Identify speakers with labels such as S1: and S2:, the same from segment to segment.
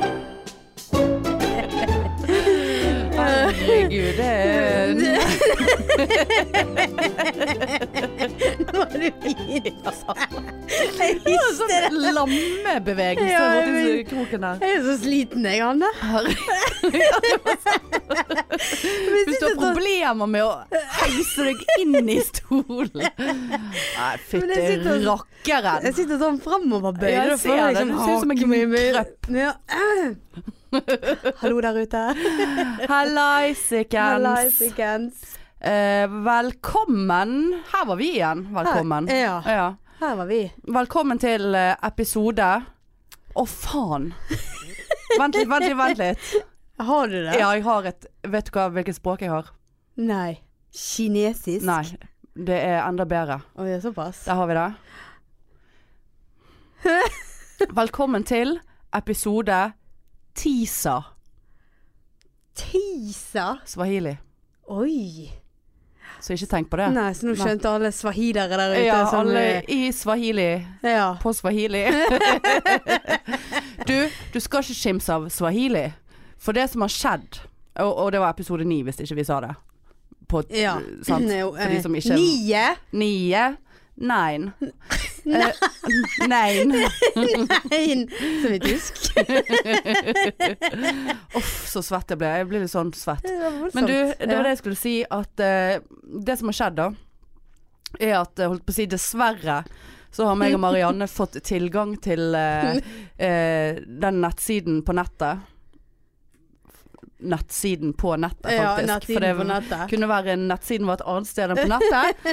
S1: Nå er du fin. Jeg rister.
S2: Sånn lammebevegelse
S1: Ja, jeg
S2: borti
S1: vil-
S2: kroken der.
S1: Jeg er så sliten jeg, Anne. Vi
S2: Hvis du
S1: sitter
S2: har
S1: sånn-
S2: problemer med å heise deg inn i stolen. Nei,
S1: Men jeg
S2: fytti
S1: sitter-
S2: rakkeren.
S1: Jeg sitter sånn fremoverbøyd.
S2: Ja, jeg
S1: da
S2: ser
S1: får
S2: det.
S1: liksom
S2: Du ser ut som en
S1: haken min-
S2: krøpp.
S1: Ja. Hallo der ute.
S2: Hallaisikens.
S1: Halleisikens.
S2: Eh, velkommen. Her var vi igjen. Velkommen.
S1: Her- Ja,
S2: Ja.
S1: her var vi.
S2: Velkommen til eh, episode Å, faen. Vent litt, vent litt, vent litt.
S1: Har du det?
S2: Ja, jeg har et Vet du hva, hvilket språk jeg har?
S1: Nei. Kinesisk?
S2: Nei. Det er enda bedre.
S1: Å ja, såpass.
S2: Der har vi det. Velkommen til episode Tisa
S1: Tisa?
S2: swahili.
S1: Oi.
S2: Så ikke tenk på det.
S1: Nei, så nå skjønte alle swahilere der ute
S2: ja,
S1: som eh,
S2: alle i swahili.
S1: Ja.
S2: På swahili. du, du skal ikke skimse av swahili. For det som har skjedd, og, og det var episode ni hvis ikke vi sa det. På,
S1: ja.
S2: sant?
S1: Nei,
S2: For de som
S1: eh,
S2: ikke
S1: Nye?
S2: Nye. Nein. Eh, Nein.
S1: Nei, som i tysk.
S2: Uff, så svett jeg ble. Jeg blir litt sånn svett.
S1: Det var voldsomt.
S2: Men du, det
S1: Ja.
S2: var det jeg skulle si, at eh, det som har skjedd da, er at jeg holdt på å si dessverre, så har meg og Marianne fått tilgang til eh, eh, den nettsiden på nettet. Nettsiden på nettet, faktisk.
S1: Ja, nettsiden
S2: For det
S1: på nettet.
S2: kunne være nettsiden var et annet sted enn på nettet.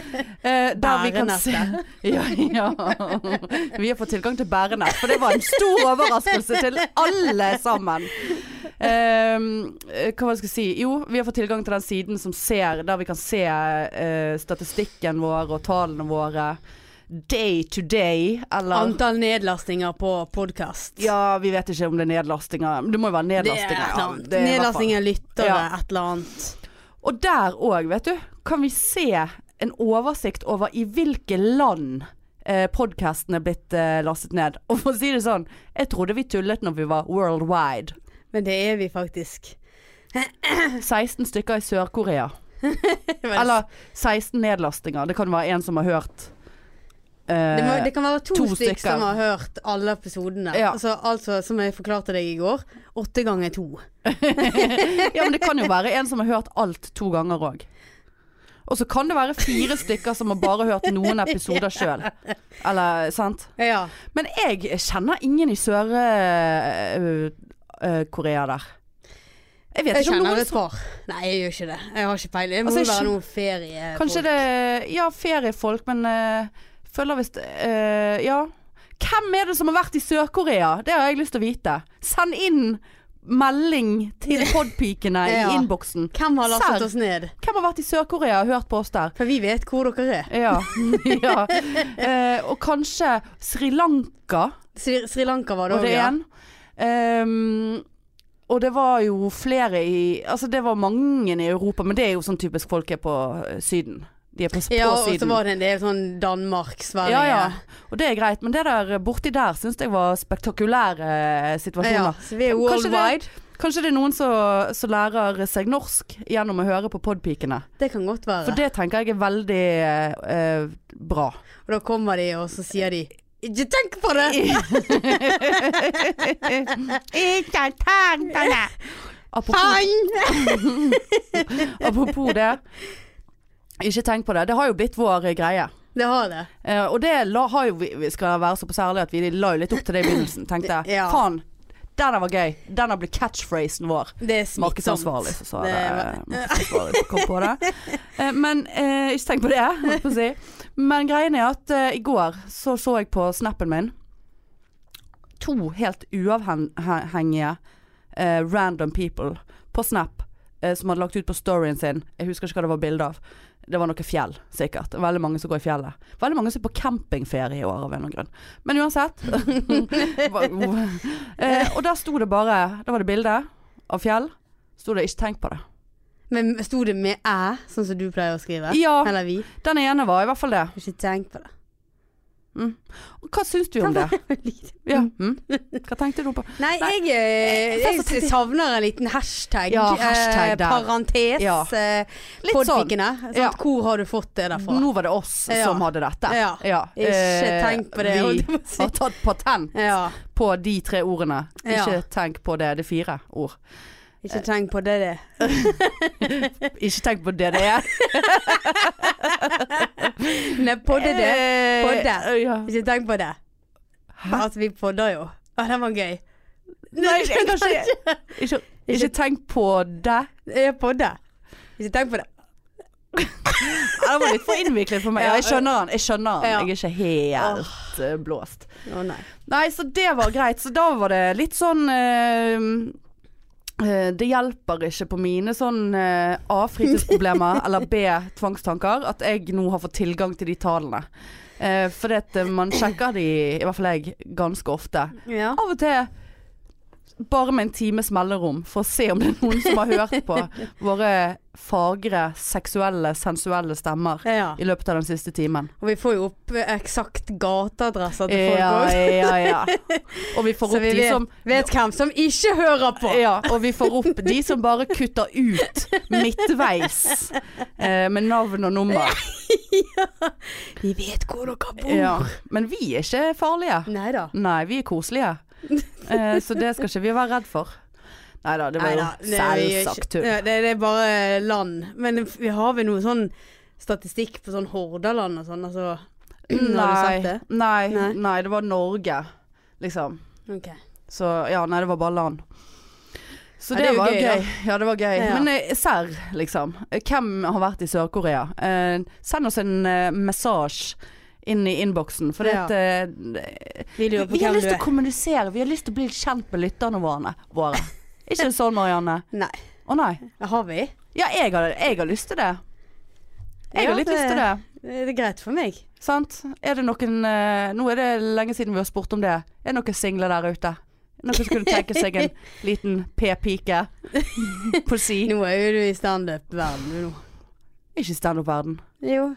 S2: Eh, der vi kan se ja, ja. Vi har fått tilgang til bærenett, for det var en stor overraskelse til alle sammen. Ehm, eh, hva var det jeg skulle si? Jo, vi har fått tilgang til den siden som ser, der vi kan se eh, statistikken vår og tallene våre day to day, eller
S1: Antall nedlastinger på podkast.
S2: Ja, vi vet ikke om det er nedlastinger. Det må jo være
S1: det er et
S2: nedlastinger.
S1: eller annet.
S2: det er i hvert fall-
S1: Nedlastinger, lyttere,
S2: Ja.
S1: et eller annet.
S2: Og der òg, vet du, kan vi se en oversikt over i hvilke land eh, podkasten er blitt eh, lastet ned. Og for å si det sånn, jeg trodde vi tullet når vi var worldwide.
S1: Men det er vi faktisk.
S2: 16 stykker i Sør-Korea.
S1: Vel,
S2: Eller 16 nedlastinger. Det kan være en som har hørt eh,
S1: det, må, det kan være to,
S2: to
S1: stykk
S2: stykker.
S1: som har hørt alle episodene.
S2: Ja.
S1: Altså, altså, som jeg forklarte deg i går, åtte ganger to.
S2: Ja, men det kan jo være en som har hørt alt to ganger òg. Og så kan det være fire stykker som har bare hørt noen episoder sjøl. Eller, sant?
S1: Ja.
S2: Men jeg kjenner ingen i Sør-Korea der. Jeg vet
S1: Jeg
S2: ikke om
S1: kjenner
S2: noen
S1: et par. Nei, jeg gjør ikke det. Jeg har ikke peiling. Det må
S2: Altså,
S1: jo
S2: jeg
S1: være
S2: skjøn-
S1: noe ferie...
S2: Kanskje det Ja, feriefolk, men eh, føler visst eh, Ja. Hvem er det som har vært i Sør-Korea? Det har jeg lyst til å vite. Send inn melding til podpikene
S1: Ja.
S2: i innboksen.
S1: Hvem har lastet
S2: Serr.
S1: oss ned?
S2: Hvem har vært i Sør-Korea og hørt på oss der?
S1: For vi vet hvor dere er.
S2: Ja. ja. Eh, og kanskje Sri Lanka.
S1: Sri, Sri Lanka var det
S2: Og
S1: òg,
S2: det er
S1: ja.
S2: en. Ehm, og det var jo flere i Altså det var mange i Europa, men det er jo sånn typisk folk er på eh, Syden. De er på, på
S1: Ja, og så
S2: Syden.
S1: var det en del sånn Danmark, Sverige.
S2: ja, ja. Og det er greit, men det der eh, borti der syns jeg var spektakulære eh,
S1: Ja,
S2: situasjoner.
S1: så vi er
S2: Kanskje det-
S1: worldwide.
S2: Kanskje det er noen som som lærer seg norsk gjennom å høre på podpikene.
S1: Det, kan godt være.
S2: For det tenker jeg er veldig eh, eh, bra.
S1: Og da kommer de, og så sier de ikke tenk på det!
S2: Ikke tenk på det! Apropos
S1: Faen!
S2: Apropos det. Ikke tenk på det. Det har jo blitt vår eh, greie.
S1: Det har det.
S2: Eh, og det la, har jo vi, vi skal være såpass ærlige at vi la jo litt opp til det i begynnelsen. Tenkte
S1: Ja.
S2: faen, den der var gøy. Den der ble catchphrasen vår.
S1: Det er smittsomt.
S2: Markedsansvarlig som sa
S1: Det
S2: det.
S1: var-
S2: Markedsansvarlig som kom på det. Eh, men eh, ikke tenk på det, holdt på å si. Men greien er at eh, i går så, så jeg på snappen min to helt uavhengige eh, random people på Snap eh, som hadde lagt ut på storyen sin. Jeg husker ikke hva det var bilde av. Det var noe fjell, sikkert. Veldig mange som går i fjellet. Veldig mange som er på campingferie i år av en eller annen grunn. Men uansett. eh, og der sto det bare Da var det bilde av fjell. Sto det 'ikke tenk på det'.
S1: Men sto det med æ, sånn som du pleier å skrive?
S2: Ja,
S1: Eller vi?
S2: den ene var i hvert fall det.
S1: Ikke tenk på det.
S2: Mm. Og hva syns du om det? Ja. Mm. Hva tenkte du på?
S1: Nei,
S2: Nei.
S1: jeg, eh,
S2: Jeg satt og
S1: jeg savner en liten hashtag.
S2: Ja, hashtag
S1: eh,
S2: der.
S1: parentes.
S2: Ja.
S1: eh,
S2: Litt sånn.
S1: Podpikene. sant?
S2: Ja.
S1: Hvor har du fått det derfra?
S2: Nå var det oss
S1: Ja.
S2: som hadde dette.
S1: Ja. Ikke
S2: Eh,
S1: tenk på det. holdt
S2: Vi
S1: jeg på å si.
S2: har tatt patent
S1: Ja.
S2: på de tre ordene. Ikke
S1: Ja.
S2: tenk på det. Det er fire ord.
S1: Ikke tenk på det, det.
S2: Ikke tenk på det det er.
S1: Nei, podde det.
S2: Eh,
S1: Podde.
S2: Ja.
S1: Ikke tenk på det.
S2: Hæ?
S1: Altså, vi podder jo. Å, den var gøy.
S2: Nei, jeg kan ikke Ikke, ikke tenk på det.
S1: Jeg podder. Ikke tenk på det.
S2: Ja, Det var litt for innviklet for meg.
S1: Ja.
S2: Ja, jeg skjønner den. Jeg skjønner
S1: Ja.
S2: den. Jeg er ikke helt eh, blåst.
S1: Å nei.
S2: Nei, så det var greit. Så da var det litt sånn eh, eh, Det hjelper ikke på mine sånn eh, A. Fritidsproblemer eller B. Tvangstanker at jeg nå har fått tilgang til de tallene. Eh, fordi at eh, man sjekker de, i hvert fall jeg, ganske ofte.
S1: Ja.
S2: Av og til bare med en times melderom for å se om det er noen som har hørt på våre fagre, seksuelle, sensuelle stemmer
S1: ja.
S2: i løpet av den siste timen.
S1: Og vi får jo opp eh, eksakt gateadresser til folk
S2: Ja,
S1: også.
S2: ja, ja. Og vi får
S1: Så
S2: opp
S1: vi
S2: de
S1: vet,
S2: som
S1: vet hvem som ikke hører på.
S2: Ja, og vi får opp de som bare kutter ut midtveis eh, med navn og nummer.
S1: Vi vet hvor dere bor.
S2: Ja. Men vi er ikke farlige.
S1: Nei da.
S2: Nei, vi er koselige. Eh, så det skal ikke vi være redd for. Nei da, det var jo selvsagt tull.
S1: Ja, det, det er bare land. Men vi har vi noe sånn statistikk på sånn Hordaland og sånn? Altså, Har du sett
S2: Nei,
S1: det?
S2: nei,
S1: Nei.
S2: nei, det var Norge, liksom.
S1: Ok.
S2: Så ja, nei, det var bare land. Så det,
S1: Ja, det er jo
S2: var
S1: gøy,
S2: gøy.
S1: da.
S2: Ja, det var gøy.
S1: Ja.
S2: Men eh, serr, liksom. Eh, Hvem har vært i Sør-Korea? Eh, send oss en eh, massasje inn i innboksen. For det
S1: Ja.
S2: at eh,
S1: Vi lurer på
S2: Vi har
S1: hvem
S2: lyst
S1: du
S2: til å
S1: er.
S2: kommunisere. Vi har lyst til å bli kjent med lytterne våre. våre. Ikke det sånn, Marianne?
S1: Nei.
S2: Å nei.
S1: Har vi?
S2: Ja, jeg har, jeg har lyst til det. Jeg
S1: Ja,
S2: har litt
S1: det-
S2: lyst til det.
S1: Det er greit for meg.
S2: Sant? Er det noen eh, Nå er det lenge siden vi har spurt om det. Er det noen single der ute? Noen som kunne tenke seg en liten p-pike på si?
S1: Nå er jo du i standup-verden nå.
S2: Ikke standup-verden.
S1: Jo.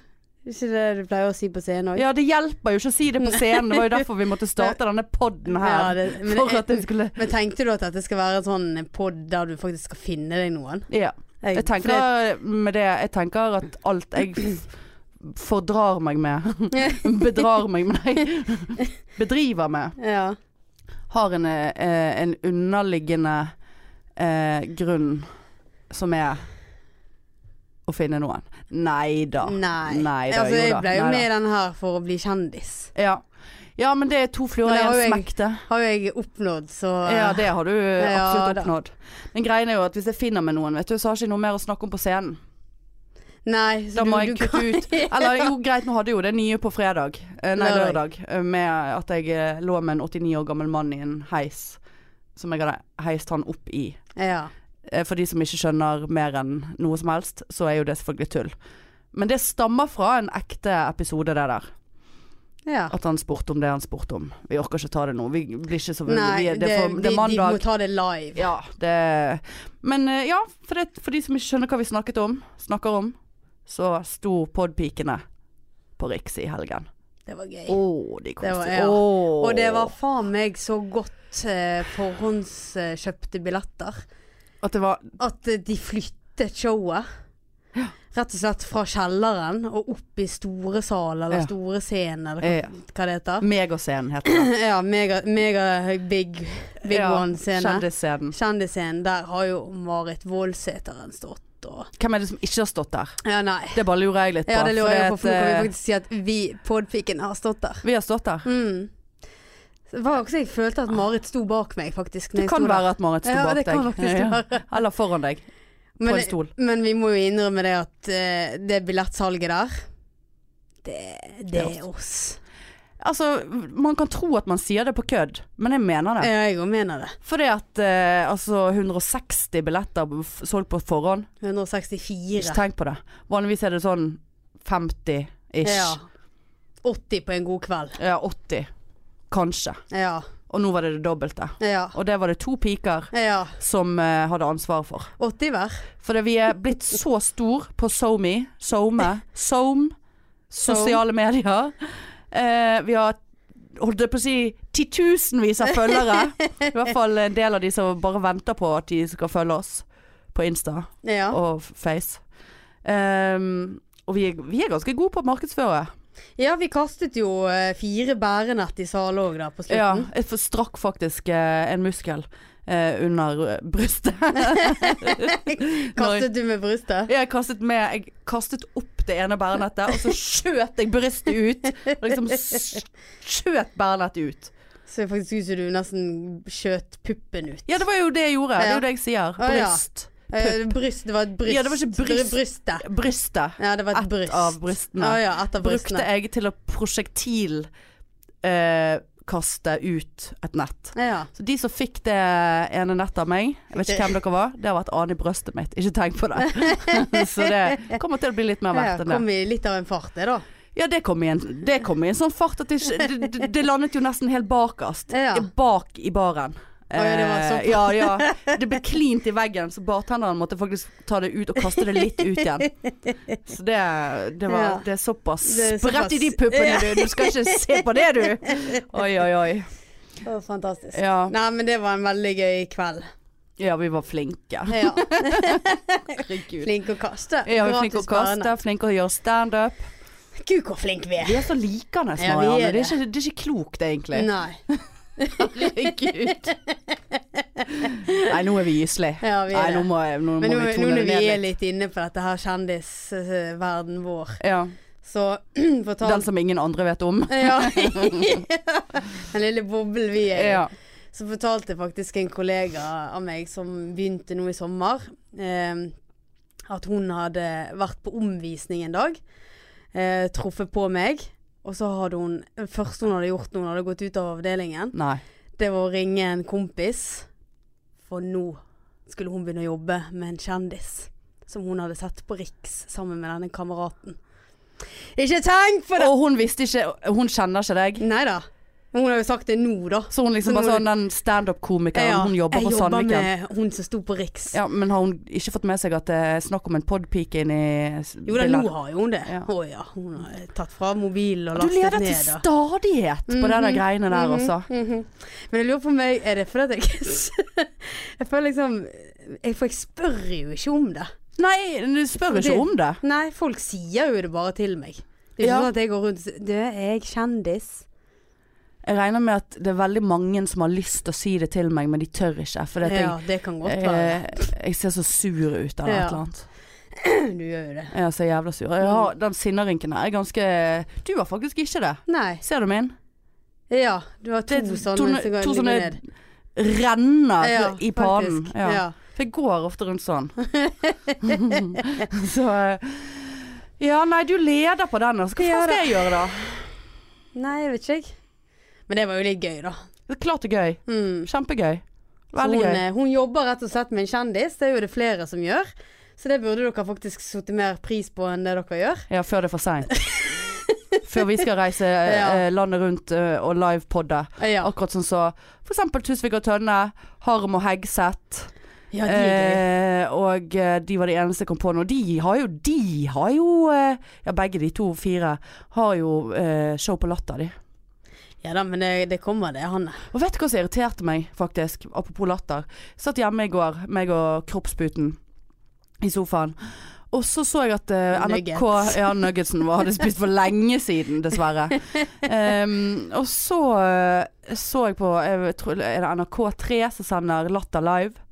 S1: Ikke det du pleier å si på scenen òg?
S2: Ja, det hjelper jo ikke å si det på scenen. Det var jo derfor vi måtte starte denne podden her.
S1: det- men,
S2: For at det skulle
S1: men tenkte du at dette skal være en sånn pod der du faktisk skal finne deg noen?
S2: Ja. Jeg tenker med det Jeg tenker at alt jeg f- fordrar meg med, bedrar meg med, nei, bedriver med,
S1: Ja.
S2: har en, eh, en underliggende eh, grunn som er å finne noen. Nei da.
S1: Nei.
S2: da,
S1: altså,
S2: jo
S1: jeg
S2: da.
S1: ble jo
S2: Nei da.
S1: med i den her for å bli kjendis.
S2: Ja. ja, men det er to fluer
S1: Men
S2: i
S1: det har
S2: en
S1: jo
S2: smekk, det.
S1: Har jo jeg oppnådd, så
S2: Ja, det har du
S1: Ja,
S2: absolutt
S1: da.
S2: oppnådd. Men greien er jo at hvis jeg finner med noen, vet du, så har jeg ikke noe mer å snakke om på scenen.
S1: Nei, så
S2: Da må
S1: du,
S2: jeg
S1: du
S2: kutte
S1: kan-
S2: ut. Eller jo, greit, nå hadde jeg jo det nye på fredag. Eh, Nei,
S1: Lørdag.
S2: lørdag. eh, Med at jeg eh, lå med en 89 år gammel mann i en heis. Som jeg hadde heist han opp i.
S1: Ja.
S2: Eh, For de som ikke skjønner mer enn noe som helst, så er jo det selvfølgelig tull. Men det stammer fra en ekte episode, det der.
S1: ja.
S2: At han spurte om det han spurte om. Vi orker ikke ta det nå. Vi blir ikke så vi,
S1: Nei,
S2: det, er for, det er
S1: De, de må
S2: mandag.
S1: ta det live.
S2: Ja, det Men eh, ja, for, det, for de som ikke skjønner hva vi snakket om, snakker om, så sto podpikene på Riks i helgen.
S1: Det var gøy.
S2: Å, de kom
S1: Det var-
S2: til
S1: ja.
S2: Åh.
S1: Og det var faen meg så godt eh, forhåndskjøpte billetter
S2: At det var
S1: at eh, de flyttet showet. Rett og slett fra kjelleren og opp i store sal, eller
S2: Ja.
S1: store scenen, eller hva,
S2: eh,
S1: hva det heter.
S2: Megascenen, heter det.
S1: Ja, mega, mega big, big
S2: Ja,
S1: one-scene.
S2: Kjendisscenen.
S1: Kjendisscenen, der har jo Marit Voldsæteren stått og
S2: Hvem er det som ikke har stått der?
S1: Ja, nei.
S2: Det bare lurer jeg litt på.
S1: Ja, det lurer
S2: fordi
S1: jeg på, for nå
S2: at,
S1: kan vi
S2: eh,
S1: faktisk si at vi, podpiken, har stått der.
S2: Vi har stått der.
S1: Mm. Det var også jeg følte at Marit sto bak meg, faktisk. når
S2: Ah. Det
S1: jeg
S2: kan
S1: sto der.
S2: være at Marit sto
S1: Ja,
S2: bak
S1: det kan
S2: deg.
S1: faktisk være.
S2: Eller foran deg, på en
S1: Men,
S2: stol.
S1: men vi må jo innrømme det at eh, det billettsalget der, det, det
S2: Det er
S1: er oss.
S2: Altså, man kan tro at man sier det på kødd, men jeg mener det.
S1: Ja, jeg òg mener det.
S2: Fordi at eh, altså 160 billetter b- f- solgt på forhånd, ikke
S1: 164.
S2: tenk på det. Vanligvis er det sånn 50-ish.
S1: Ja.
S2: Ja.
S1: 80 på en god kveld.
S2: 80. Kanskje.
S1: Ja.
S2: Og nå var det det dobbelte.
S1: Ja.
S2: Og det var det to piker
S1: ja.
S2: som eh, hadde ansvaret for.
S1: 80 hver.
S2: Fordi vi er blitt så stor på SoMe, SoMe, Som, sosiale medier. Eh, vi har holdt jeg på å si titusenvis av følgere. I hvert fall en del av de som bare venter på at de skal følge oss på Insta
S1: Ja.
S2: og Face. Ehm, og vi er, vi er ganske gode på å markedsføre.
S1: ja, vi kastet jo eh, fire bærenett i salen òg der på
S2: Ja,
S1: slutten.
S2: jeg for- strakk faktisk eh, en muskel eh, under eh, brystet.
S1: Kastet du med brystet?
S2: Jeg kastet, med, jeg kastet opp det ene bærenettet, og så skjøt jeg brystet ut. Og liksom s- skjøt bærenettet ut.
S1: Så faktisk ut som du nesten skjøt puppen ut.
S2: Ja, det var jo det jeg gjorde. Det er jo det jeg sier.
S1: Å, ja.
S2: Bryst.
S1: Eh, Bryst, det var et bryst.
S2: Ja, det var ikke bryst.
S1: Brystet.
S2: Brystet.
S1: Ja, det var et
S2: Et
S1: bryst.
S2: av brystene.
S1: Ja, ja, et av
S2: Brukte
S1: brystene.
S2: jeg til å prosjektil eh, kaste ut et nett.
S1: Ja.
S2: Så de som fikk det ene nettet av meg, jeg vet ikke hvem dere var, det var et annet i brøstet mitt. Ikke tenk på det. Så det kommer til å bli litt mer
S1: Ja,
S2: verdt enn det.
S1: kom i litt av en fart, det da.
S2: Ja, det kom i en, det kom i en sånn fart at det, ikke- det, det- det landet jo nesten helt bakerst.
S1: Ja.
S2: Bak i baren.
S1: Oi, det var sånn.
S2: Eh, ja, ja. Det ble klint i veggen, så bartenderen måtte faktisk ta det ut og kaste det litt ut igjen. Så det, det, var,
S1: Ja.
S2: det er såpass
S1: Det er såpass.
S2: spredt i de puppene, du. Du skal ikke se på det, du. Oi, oi, oi.
S1: Det var fantastisk.
S2: Ja,
S1: Nei, men det var en veldig gøy kveld.
S2: ja vi var flinke.
S1: Ja,
S2: Herregud.
S1: flink å kaste.
S2: Ja, vi er flinke å
S1: Gratis
S2: kaste,
S1: bærende.
S2: flinke å gjøre standup.
S1: Gud, hvor flink vi er.
S2: Vi er så likende,
S1: Ja, vi er
S2: Marianne. det.
S1: det.
S2: er ikke, det er ikke klokt, egentlig.
S1: Nei.
S2: Herregud. Nei, nå er vi gyselige.
S1: Ja, vi
S2: Nei,
S1: er
S2: nå
S1: det.
S2: må, jeg- nå må
S1: Men nå,
S2: vi
S1: nå
S2: tone
S1: når
S2: det
S1: vi
S2: ned
S1: er
S2: litt.
S1: litt inne på dette her kjendisverden vår,
S2: Ja,
S1: så
S2: den
S1: fortalte
S2: som ingen andre vet om.
S1: ja. Den lille boblen vi er i.
S2: Ja.
S1: Så fortalte faktisk en kollega av meg som begynte nå i sommer, eh, at hun hadde vært på omvisning en dag, eh, truffet på meg. Og så hadde hun, det første hun hadde gjort når hun hadde gått ut av avdelingen,
S2: Nei.
S1: det var å ringe en kompis. For nå skulle hun begynne å jobbe med en kjendis som hun hadde sett på Riks sammen med denne kameraten. Ikke tenk på det!
S2: Og hun visste ikke Hun kjenner ikke deg.
S1: Nei da. Hun har jo sagt det nå, da.
S2: Så hun liksom
S1: Så
S2: bare
S1: nå-
S2: sånn den standup-komikeren
S1: Ja,
S2: hun jobber
S1: jeg
S2: på Sandviken.
S1: jobber med hun som sto på Riks.
S2: Ja, men har hun ikke fått med seg at det er snakk om en podpike inni
S1: Jo da, nå har jo hun det. Å
S2: Ja.
S1: ja. Hun har tatt fra mobilen og
S2: Du
S1: lastet
S2: leder
S1: ned.
S2: til
S1: da.
S2: stadighet på de der
S1: Mhm,
S2: greiene der,
S1: mhm,
S2: altså.
S1: mhm. Men jeg lurer på om jeg Er det fordi at jeg ikke s- Jeg føler liksom jeg, For jeg spør jo ikke om det.
S2: Nei, du spør ikke
S1: Fordi-
S2: om det.
S1: Nei, folk sier jo det bare til meg. Det er ikke
S2: Ja.
S1: sånn at jeg går rundt og sier Du, er jeg kjendis?
S2: Jeg regner med at det er veldig mange som har lyst til å si det til meg, men de tør ikke. For det at jeg, Eh.
S1: Ja, det kan godt være.
S2: Jeg, jeg ser så sur ut eller
S1: Ja.
S2: et eller annet.
S1: Du gjør jo det.
S2: Jeg ser jævla sur. Jeg har, den sinnarynken her er ganske Du har faktisk ikke det.
S1: Nei.
S2: Ser du min?
S1: Ja, du har to
S2: Det er to-
S1: sånne som går
S2: to
S1: ligger
S2: sånne
S1: ned.
S2: Renner
S1: Ja,
S2: i panen.
S1: faktisk.
S2: Ja.
S1: Ja.
S2: For jeg går ofte rundt sånn. så eh, Ja, nei, du leder på den. Altså. Hva
S1: Ja,
S2: faen skal jeg gjøre da?
S1: Nei, jeg vet ikke jeg. Men det var jo litt gøy, da.
S2: Det er klart det er gøy.
S1: Mm.
S2: Kjempegøy.
S1: Så
S2: Veldig
S1: hun,
S2: gøy.
S1: eh, hun jobber rett og slett med en kjendis, det er jo det flere som gjør. Så det burde dere faktisk satt mer pris på enn det dere gjør.
S2: Ja, før det er for seint. Før vi skal reise eh,
S1: Ja.
S2: eh, landet rundt eh, og livepodde.
S1: Eh, Ja,
S2: Akkurat sånn som så, f.eks. Tusvik og Tønne, Harm og Hegseth.
S1: ja de er gøy.
S2: Eh, og eh, de var de eneste jeg kom på nå. De har jo, de har jo eh, Ja, begge de to fire har jo eh, show på Latter, de.
S1: Ja da, men det, det kommer det, Hanne.
S2: Og vet du hva som irriterte meg, faktisk? Apropos Latter. Satt hjemme i går, meg og Kroppsputen, i sofaen. Og så så jeg at eh, NRK
S1: Nuggets.
S2: Ja, nuggetsen var, hadde spist for lenge siden, dessverre. Em, og så eh, så jeg på jeg tror, Er det NRK3 som sender Latter live?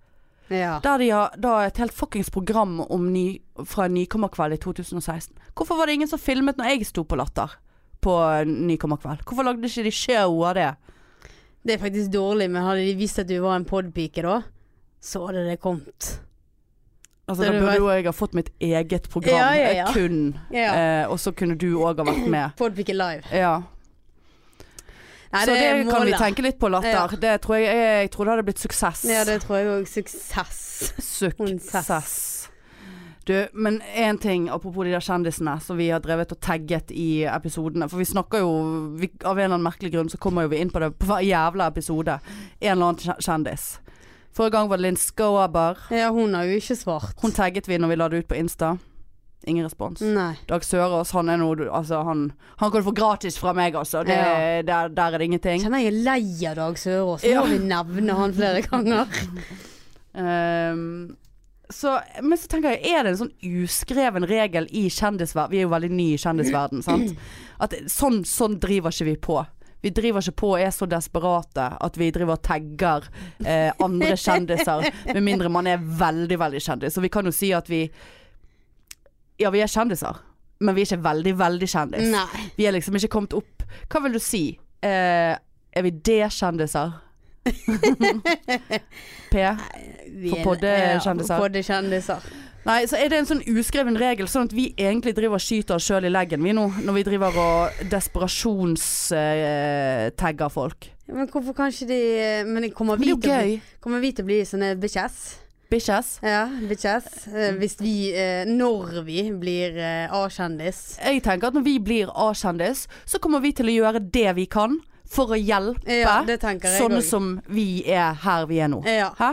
S1: Ja.
S2: Der de har da et helt fuckings program om ny, fra Nykommerkveld i 2016. Hvorfor var det ingen som filmet når jeg sto på Latter på eh, Nykommerkveld? Hvorfor lagde ikke de show av det?
S1: Det er faktisk dårlig, men hadde de visst at du var en podpike da, så hadde det kommet.
S2: Altså,
S1: Det
S2: da
S1: hadde
S2: burde
S1: vært-
S2: jo jeg ha fått mitt eget program
S1: Ja, ja, ja.
S2: eh, kun,
S1: Ja.
S2: eh, og så kunne du òg ha vært med.
S1: Podpike live.
S2: Ja.
S1: Nei,
S2: så det
S1: er
S2: kan vi
S1: målet.
S2: tenke litt på,
S1: Ja.
S2: Latter. Det tror jeg, jeg, jeg tror det hadde blitt suksess.
S1: Ja, det tror jeg òg. Suksess.
S2: Suksess. Du, men én ting apropos de der kjendisene som vi har drevet og tagget i episodene. For vi snakker jo vi, Av en eller annen merkelig grunn så kommer jo vi inn på det på hver jævla episode. En eller annen kje- kjendis. Forrige gang var det Linn Skåber.
S1: Ja, hun har jo ikke svart.
S2: Hun tagget vi når vi la det ut på Insta. Ingen respons.
S1: Nei.
S2: Dag Sørås, han er noe Altså, han, han kan du få gratis fra meg, altså. Det,
S1: Ja.
S2: der, der er det ingenting.
S1: Kjenner jeg er lei av Dag Sørås. Nå
S2: Ja.
S1: må vi nevne han flere ganger.
S2: Ehm, så, men så tenker jeg, er det en sånn uskreven regel i kjendisverden Vi er jo veldig nye i kjendisverden, sant? At sånn, sånn driver ikke vi på. Vi driver ikke på og er så desperate at vi driver og tagger eh, andre kjendiser. Med mindre man er veldig, veldig kjendis. Så vi kan jo si at vi Ja, vi er kjendiser, men vi er ikke veldig, veldig kjendis.
S1: Nei.
S2: Vi er liksom ikke kommet opp Hva vil du si? Eh, er vi D-kjendiser? P?
S1: Vi
S2: For
S1: er-
S2: poddekjendiser.
S1: Ja, for poddekjendiser.
S2: Nei, så er det en sånn uskreven regel, sånn at vi egentlig driver og skyter oss sjøl i leggen, vi nå. Når vi driver og desperasjonstagger folk.
S1: Ja, Men hvorfor kan ikke de eh, Men kommer
S2: Men det
S1: vi,
S2: er jo
S1: til, å bli-
S2: gøy.
S1: kommer vi til å bli sånne bitches?
S2: Bitches.
S1: Ja, bitches. Eh, Hvis vi eh, Når vi blir eh, A-kjendis.
S2: Jeg tenker at når vi blir A-kjendis, så kommer vi til å gjøre det vi kan for å hjelpe
S1: Ja, det tenker jeg
S2: sånne
S1: òg.
S2: som vi er her vi er nå.
S1: Ja.
S2: Hæ?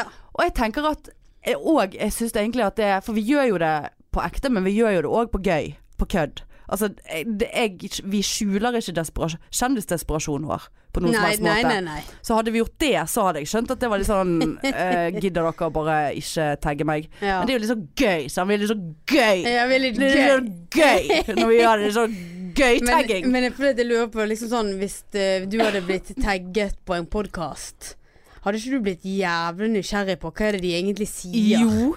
S1: ja.
S2: Og jeg tenker at eh, Og jeg syns egentlig at det For vi gjør jo det på ekte, men vi gjør jo det òg på gøy. På kødd. Altså, eh, det, jeg, vi skjuler ikke desperas- kjendisdesperasjon vår på noen som
S1: Nei,
S2: helst måte.
S1: nei, nei, nei.
S2: Så hadde vi gjort det, så hadde jeg skjønt at det var litt sånn eh, Gidder dere bare ikke tagge meg?
S1: Ja.
S2: Men det er jo litt sånn gøy, sant? Vi er litt sånn gøy.
S1: Jeg vil litt
S2: Det er
S1: gøy.
S2: litt sånn gøy når vi gjør det sånn gøy-tagging.
S1: Men, men jeg, fordi at jeg lurer på liksom sånn Hvis eh, du hadde blitt tagget på en podkast, hadde ikke du blitt jævlig nysgjerrig på hva er det de egentlig sier?
S2: Jo.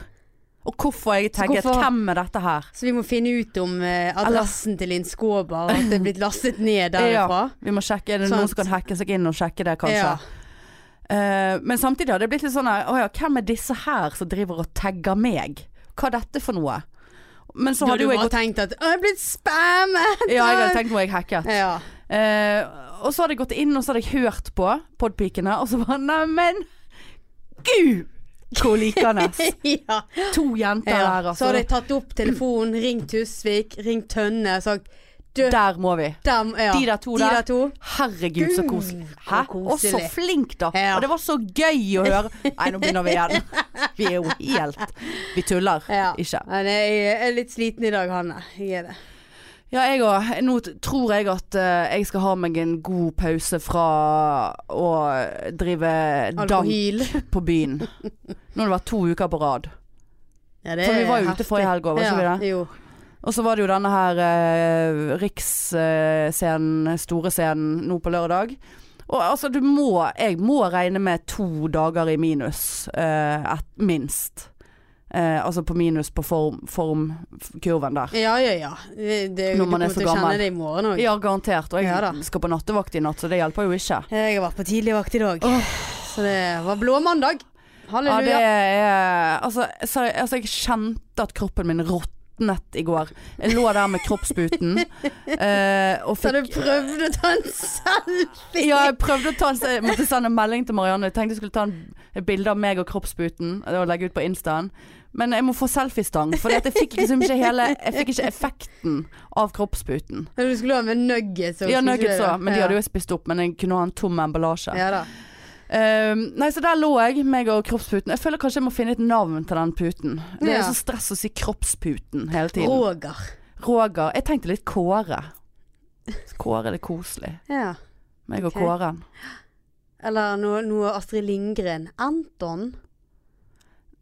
S2: Og hvorfor er jeg tagget?
S1: hvorfor-
S2: Hvem er dette her?
S1: Så vi må finne ut om eh, adressen til Linn Skåber, at det er blitt lastet ned derifra.
S2: Vi må sjekke, Er det
S1: Sant.
S2: noen som kan hacke seg inn og sjekke det, kanskje?
S1: Ja.
S2: Eh, men samtidig har det blitt litt sånn her, Å ja, hvem er disse her som driver og tagger meg? Hva er dette for noe? Men så
S1: Da
S2: hadde
S1: hadde du
S2: jo jeg
S1: bare
S2: gått
S1: tenkt at Å, jeg er blitt spammet!
S2: Ja, jeg hadde tenkt nå er jeg hacket.
S1: Ja.
S2: Eh, og så hadde jeg gått inn og så hadde jeg hørt på podpikene, og så bare Neimen, gud! Hvor likende.
S1: ja.
S2: To jenter
S1: ja.
S2: der,
S1: Så
S2: altså.
S1: hadde jeg tatt opp telefonen, ringt Tusvik, ringt Tønne, sagt du,
S2: Der må vi.
S1: dem, ja.
S2: De der to
S1: De
S2: der.
S1: der to.
S2: Herregud, så koselig.
S1: Gud,
S2: Hæ?
S1: så
S2: Og så
S1: koselig.
S2: flink, da.
S1: Ja.
S2: Og det var så gøy å høre. Nei, nå begynner vi igjen. Vi er jo helt Vi tuller
S1: Ja.
S2: ikke.
S1: Men jeg er litt sliten i dag, Hanne. Jeg er det.
S2: Ja, jeg òg. Nå t- tror jeg at eh, jeg skal ha meg en god pause fra å drive dank
S1: Alkohol.
S2: på byen. Nå har det vært to uker på rad.
S1: Ja, det
S2: For vi var jo
S1: er
S2: ute forrige
S1: heftig.
S2: helg også, var ikke vi det?
S1: Jo.
S2: Og så var det jo denne her eh, riksscenen, store scenen, nå på lørdag. Og altså, du må Jeg må regne med to dager i minus, eh, et, minst. Eh, altså på minus på form, formkurven der.
S1: Ja, ja, ja. Det, det,
S2: Når man
S1: du
S2: er
S1: kommer
S2: så
S1: til å kjenne
S2: gammel.
S1: det i morgen òg.
S2: Ja, garantert. Og jeg
S1: Ja da.
S2: skal på nattevakt i natt, så det hjelper jo ikke.
S1: Eh, Jeg har vært på tidligvakt i dag, så det var blå mandag.
S2: Ja, det
S1: Halleluja.
S2: er altså, sorry, altså, jeg kjente at kroppen min råtnet i går. Jeg lå der med kroppsputen eh, og
S1: så
S2: fikk
S1: du prøvde å ta en selfie?
S2: Ja, jeg prøvde å ta en, jeg måtte sende en melding til Marianne. Jeg tenkte jeg skulle ta en, et bilde av meg og kroppsputen og legge ut på Instaen. Men jeg må få selfiestang, for jeg fikk liksom ikke hele Jeg fikk ikke effekten av kroppsputen.
S1: Men Du skulle ha med nuggets også,
S2: Ja,
S1: skulle
S2: nuggets
S1: du det?
S2: òg, men de hadde jo jeg spist opp. Men jeg kunne ha en tom emballasje.
S1: Ja da.
S2: Ehm, nei, så der lå jeg, meg og kroppsputen. Jeg føler kanskje jeg må finne et navn til den puten. Det er
S1: Ja.
S2: så stress å si kroppsputen hele tiden.
S1: Roger.
S2: Roger. Jeg tenkte litt Kåre. Kåre det er koselig.
S1: Ja.
S2: Meg og
S1: Ok.
S2: Kåren.
S1: Eller noe, noe Astrid Lindgren. Anton.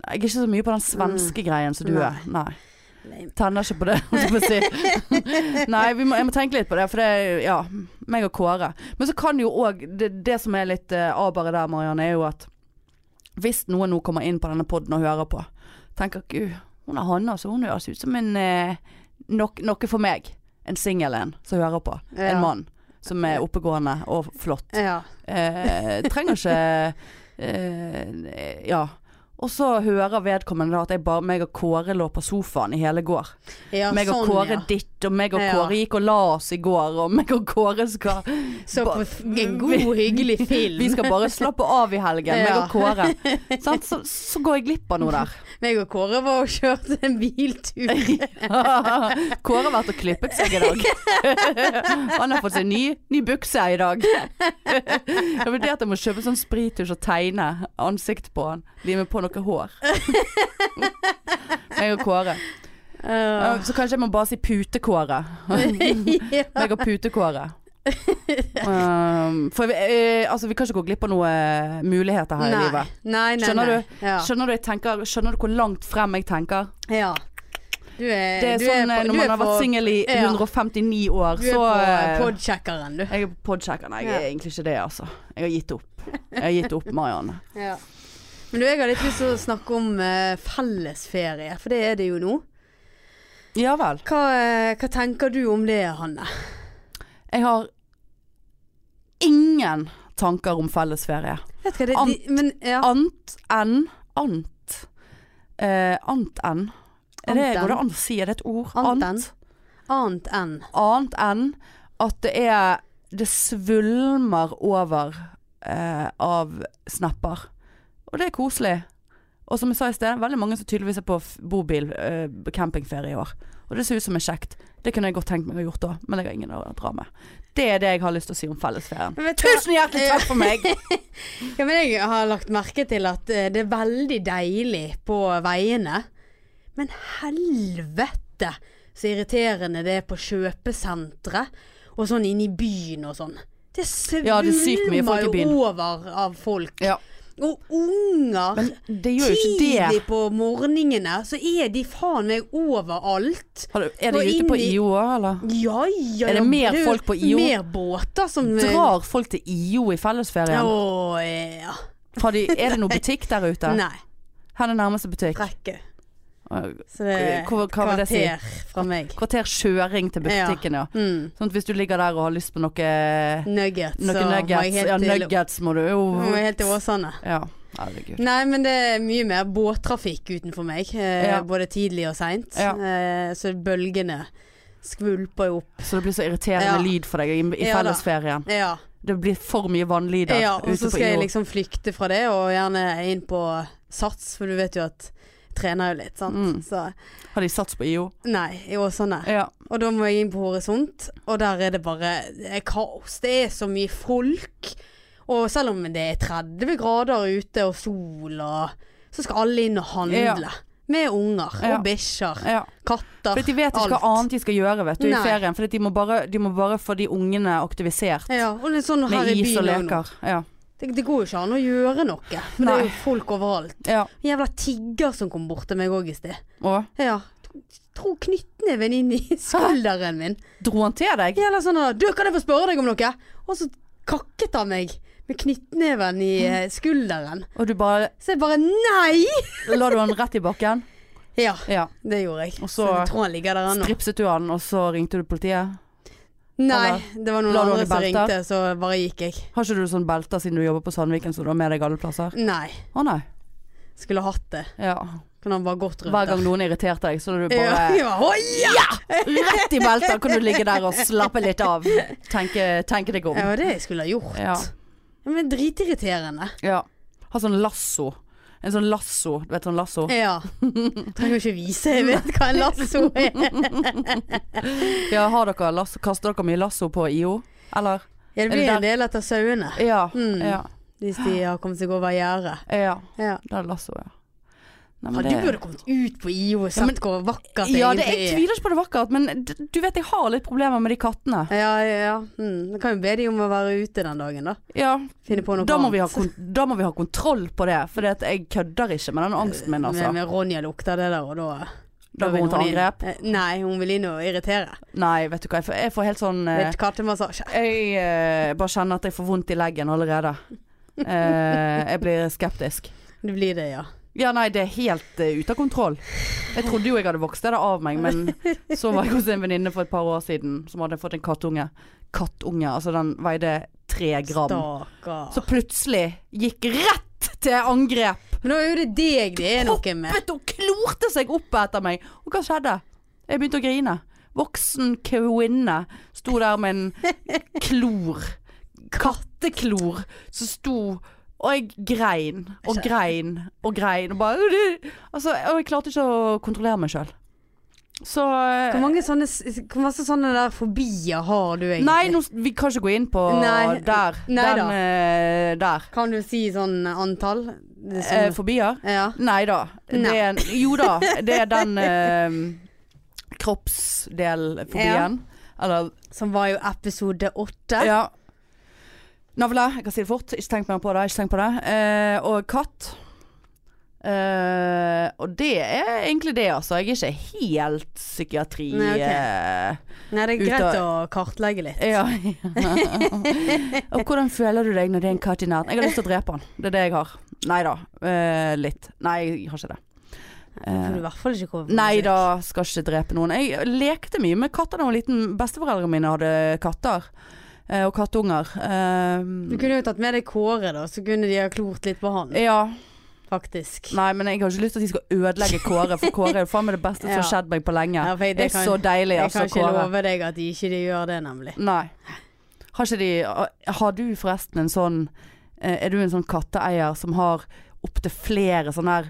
S2: Jeg er ikke så mye på den svenske greien som du
S1: Mm. Nei.
S2: er. Nei.
S1: Lame.
S2: Tenner ikke på det, holdt jeg på å si. Nei, vi må, jeg må tenke litt på det, for det er ja, meg og Kåre. Men så kan jo òg det, det som er litt eh, abere der, Marianne, er jo at hvis noen nå kommer inn på denne poden og hører på, tenker gud, hun er Hanna, så hun høres ut som en eh, nok, noe for meg. En singel en som hører på.
S1: Ja.
S2: En mann som er oppegående og flott.
S1: Ja.
S2: Eh, trenger ikke eh, Ja. Og så hører vedkommende da at jeg bare, meg og Kåre lå på sofaen i hele går.
S1: ja
S2: meg og
S1: sånn,
S2: Kåre
S1: ja.
S2: ditt, og meg og
S1: Ja.
S2: Kåre gikk og la oss i går, og meg og Kåre skal
S1: Så
S2: ba-
S1: på f- en god, hyggelig film.
S2: Vi skal bare slappe av i helgen, meg
S1: Ja.
S2: og Kåre. Sant? Så, så går jeg glipp av noe der.
S1: Meg og Kåre var og kjørte en biltur.
S2: Kåre har vært og klippet seg i dag. Han har fått seg ny, ny bukse i dag. Jeg vurderte om å kjøpe sånn sprittusj og tegne ansiktet på han. Lime på noe hår. Jeg og Kåre.
S1: Eh,
S2: Så kanskje jeg må bare si putekåret.
S1: ja.
S2: Meg og putekåret. Um, for vi, eh, altså, vi kan ikke gå glipp av noen muligheter her i
S1: Nei.
S2: livet.
S1: nei, nei.
S2: Skjønner
S1: nei. Ja.
S2: Skjønner du, jeg tenker, skjønner du hvor langt frem jeg tenker?
S1: ja. Du er,
S2: Det er
S1: du
S2: sånn eh,
S1: på-
S2: når
S1: du
S2: man
S1: er
S2: har vært
S1: på-
S2: singel i
S1: ja.
S2: 159 år,
S1: Du er
S2: så eh,
S1: på podkjekkeren, du.
S2: Jeg er på podchecker. Nei, jeg
S1: Ja.
S2: er egentlig ikke det, altså. Jeg har gitt opp. Jeg har gitt opp, Marianne.
S1: Ja. Men du, jeg har litt lyst til å snakke om eh, fellesferie, for det er det jo nå.
S2: Ja vel.
S1: Hva, eh, hva tenker du om det, Hanne?
S2: Jeg har ingen tanker om fellesferie.
S1: Vet du hva, det,
S2: Ant.
S1: de, men, ja.
S2: Annet enn Ant. Eh, annet enn. Er det,
S1: Anten.
S2: går det an å si? Er det et ord?
S1: Anten.
S2: Ant.
S1: Annet enn.
S2: Annet enn at det er Det svulmer over eh, av snapper. Og det er koselig. Og som jeg sa i sted, veldig mange som tydeligvis er på f- bobil eh, campingferie i år. Og det ser ut som er kjekt. Det kunne jeg godt tenkt meg å gjort da, men jeg har ingen å dra med. Det er det jeg har lyst til å si om fellesferien.
S1: Men vet du hva?
S2: Tusen hjertelig takk for meg!
S1: Ja, men jeg har lagt merke til at eh, det er veldig deilig på veiene. Men helvete så irriterende det er på kjøpesentre og sånn inne i byen og sånn. Det svulmer
S2: Ja, det er sykt mye folk i
S1: jo
S2: byen.
S1: over av folk.
S2: Ja.
S1: Og unger.
S2: Men det gjør jo ikke det.
S1: Tidlig på morgenene så er de faen meg overalt.
S2: Har du- Er de
S1: Og
S2: ute på
S1: inn i-
S2: IO òg, eller?
S1: Ja, ja,
S2: Er det
S1: ja,
S2: mer eh,
S1: jo
S2: folk på IO?
S1: Mer båter som
S2: Drar folk til IO i fellesferien?
S1: Å, ja.
S2: Har de, er det noen butikk der ute?
S1: Nei.
S2: Her er det nærmeste butikk.
S1: Frekke.
S2: Eh,
S1: Så det er
S2: Hva- hva vil det si?
S1: kvarter fra meg.
S2: Kvarter kjøring til butikken, ja.
S1: Mm.
S2: Sånn at hvis du ligger der og har lyst på noe,
S1: Nuggets.
S2: noe
S1: så må jeg
S2: nuggets,
S1: helt
S2: ja,
S1: til-
S2: nuggets må du jo
S1: Må jeg helt til Åsane.
S2: Ja, herregud.
S1: Nei, men det er mye mer båttrafikk utenfor meg. Eh,
S2: Ja.
S1: Både tidlig og seint.
S2: Ja.
S1: Eh, så bølgene skvulper jo opp.
S2: Så det blir så irriterende
S1: Ja.
S2: lyd for deg i, i
S1: Ja da.
S2: fellesferien.
S1: Ja.
S2: Det blir for mye vannlyder
S1: ja, og
S2: ute
S1: så
S2: på
S1: skal jeg
S2: IO.
S1: liksom flykte fra det, og gjerne inn på Sats, for du vet jo at jeg trener jo litt, sant.
S2: Mm.
S1: Så
S2: Har de sats på IO?
S1: nei, i Åsane.
S2: Ja.
S1: Og da må jeg inn på Horisont, og der er det bare det er kaos. Det er så mye folk. Og selv om det er 30 grader ute og sol og Så skal alle inn og handle. Med unger
S2: Ja.
S1: og bikkjer.
S2: ja.
S1: Katter.
S2: For de vet ikke hva
S1: Ah, alt.
S2: annet de skal gjøre vet du, i
S1: Nei.
S2: ferien. For de må, bare, de må bare få de ungene aktivisert
S1: Ja, og litt sånn her
S2: med
S1: i
S2: is og
S1: byen òg nå.
S2: leker. Ja.
S1: Det, det går jo ikke an å gjøre noe. For det
S2: Nei.
S1: er jo folk overalt.
S2: ja.
S1: En jævla tigger som kom bort til meg òg i sted.
S2: Og
S1: Ja. Tro knyttneven inn i skulderen min.
S2: dro han til deg?
S1: Eller sånn at, Du, kan jeg få spørre deg om noe? Og så kakket han meg med knyttneven i eh, skulderen.
S2: Og du bare
S1: Så jeg bare nei!
S2: la du han rett i bakken?
S1: Ja,
S2: Ja.
S1: det gjorde jeg.
S2: Og
S1: så,
S2: så-
S1: jeg tror han ligger der ennå.
S2: Stripset du han, og så ringte du politiet?
S1: Nei,
S2: Eller-
S1: det var noen
S2: La du han i
S1: andre som
S2: belter?
S1: ringte, så bare gikk jeg.
S2: Har ikke du sånn belter siden du jobber på Sandviken, så du har med deg alle plasser?
S1: Nei.
S2: Å nei.
S1: Skulle hatt det.
S2: Ja.
S1: Kan han bare gått rundt
S2: Hver gang noen irriterte deg, så er du
S1: der. Ja,
S2: bare
S1: ja, å, ja!
S2: rett i belter. Kan du ligge der og slappe litt av. Tenke, tenke deg om.
S1: Det var det jeg skulle ha gjort.
S2: Ja.
S1: Ja, Men dritirriterende.
S2: ja. Ha sånn lasso. En sånn lasso. Du vet sånn lasso?
S1: Ja. Trenger jo ikke vise, jeg vet hva en lasso er.
S2: Ja, har dere lasso? Kaster dere mye lasso på IO? Eller?
S1: Ja, det
S2: Er det
S1: blir
S2: der-
S1: en del etter sauene.
S2: Ja.
S1: Mm.
S2: Ja.
S1: Hvis de har kommet seg over gjerdet.
S2: ja.
S1: Ja.
S2: Da er det lasso, ja. Nei,
S1: Ja,
S2: men
S1: du burde kommet ut på IO og sett
S2: Ja, men-
S1: hvor vakkert det
S2: ja, det,
S1: egentlig
S2: jeg
S1: er.
S2: tviler ikke på det er vakkert, men d- du vet jeg har litt problemer med de kattene.
S1: Ja, ja, ja. Mm. Da kan jo be de om å være ute den dagen, da.
S2: Ja,
S1: Finne på noe
S2: da må, vi ha
S1: annet.
S2: kon da må vi ha kontroll på det, for jeg kødder ikke med den angsten min, altså.
S1: Men, men Ronja lukter det der, og da
S2: Da går
S1: vil
S2: hun til
S1: inn.
S2: angrep.
S1: Eh, Nei, hun vil inn og irritere.
S2: Nei, vet du hva, jeg får, jeg får helt sånn eh,
S1: Litt kattemassasje.
S2: Jeg eh, bare kjenner at jeg får vondt i leggen allerede. Eh, jeg blir skeptisk.
S1: Det blir det, ja.
S2: Ja, nei, det er helt eh, ute av kontroll. Jeg trodde jo jeg hadde vokst det der av meg, men så var jeg hos en venninne for et par år siden som hadde fått en kattunge. Kattunge, altså den veide tre gram.
S1: Stakkar.
S2: Så plutselig gikk rett til angrep.
S1: Men nå er jo det deg det er noe med.
S2: Vet du, hun klorte seg opp etter meg. Og hva skjedde? Jeg begynte å grine. Voksen kvinne sto der med en klor. Katteklor som sto Og jeg grein og grein og grein og bare altså, Og jeg klarte ikke å kontrollere meg sjøl. Så
S1: Hvor mange sånne, s- hvor masse sånne der fobier har du egentlig?
S2: eh, Nei, nå, vi kan ikke gå inn på
S1: Nei,
S2: der.
S1: nei da.
S2: Den eh, der.
S1: Kan du si sånn antall? Det er
S2: Eh,
S1: sånn-
S2: Fobier?
S1: ja.
S2: Nei da. Det
S1: Nei.
S2: er, jo da, det er den eh, kroppsdelfobien. Eller
S1: Som var jo episode åtte.
S2: ja. Navle. Jeg kan si det fort. Ikke tenk mer på det. Ikke tenk på det. Eh, og katt. Eh, og det er egentlig det, altså. Jeg er ikke helt psykiatri...
S1: Nei, ok.
S2: eh,
S1: Nei, det er
S2: Ut
S1: greit
S2: av-
S1: å kartlegge litt.
S2: Ja. og hvordan føler du deg når det er en katt i nærheten? Jeg har lyst til å drepe han. Det er det jeg har. Nei da. Eh, litt. Nei, jeg har ikke det.
S1: Det får du i hvert fall ikke komme på
S2: Nei
S1: besøk.
S2: da, skal ikke drepe noen. Jeg lekte mye med katter da jeg var liten. Besteforeldrene mine hadde katter. eh, Og kattunger.
S1: Du
S2: Eh,
S1: kunne jo tatt med deg Kåre, da, så kunne de ha klort litt på han,
S2: ja.
S1: faktisk.
S2: Nei, men jeg har ikke lyst til at de skal ødelegge Kåre, for Kåre er jo faen meg det beste som har
S1: Ja.
S2: skjedd meg på lenge.
S1: Ja, for jeg-
S2: det
S1: det
S2: er
S1: kan-
S2: så deilig,
S1: Jeg
S2: altså,
S1: kan ikke
S2: Kåre.
S1: love deg at de ikke de gjør det, nemlig.
S2: Nei. Har ikke de Har du forresten en sånn eh, Er du en sånn katteeier som har opptil flere sånne her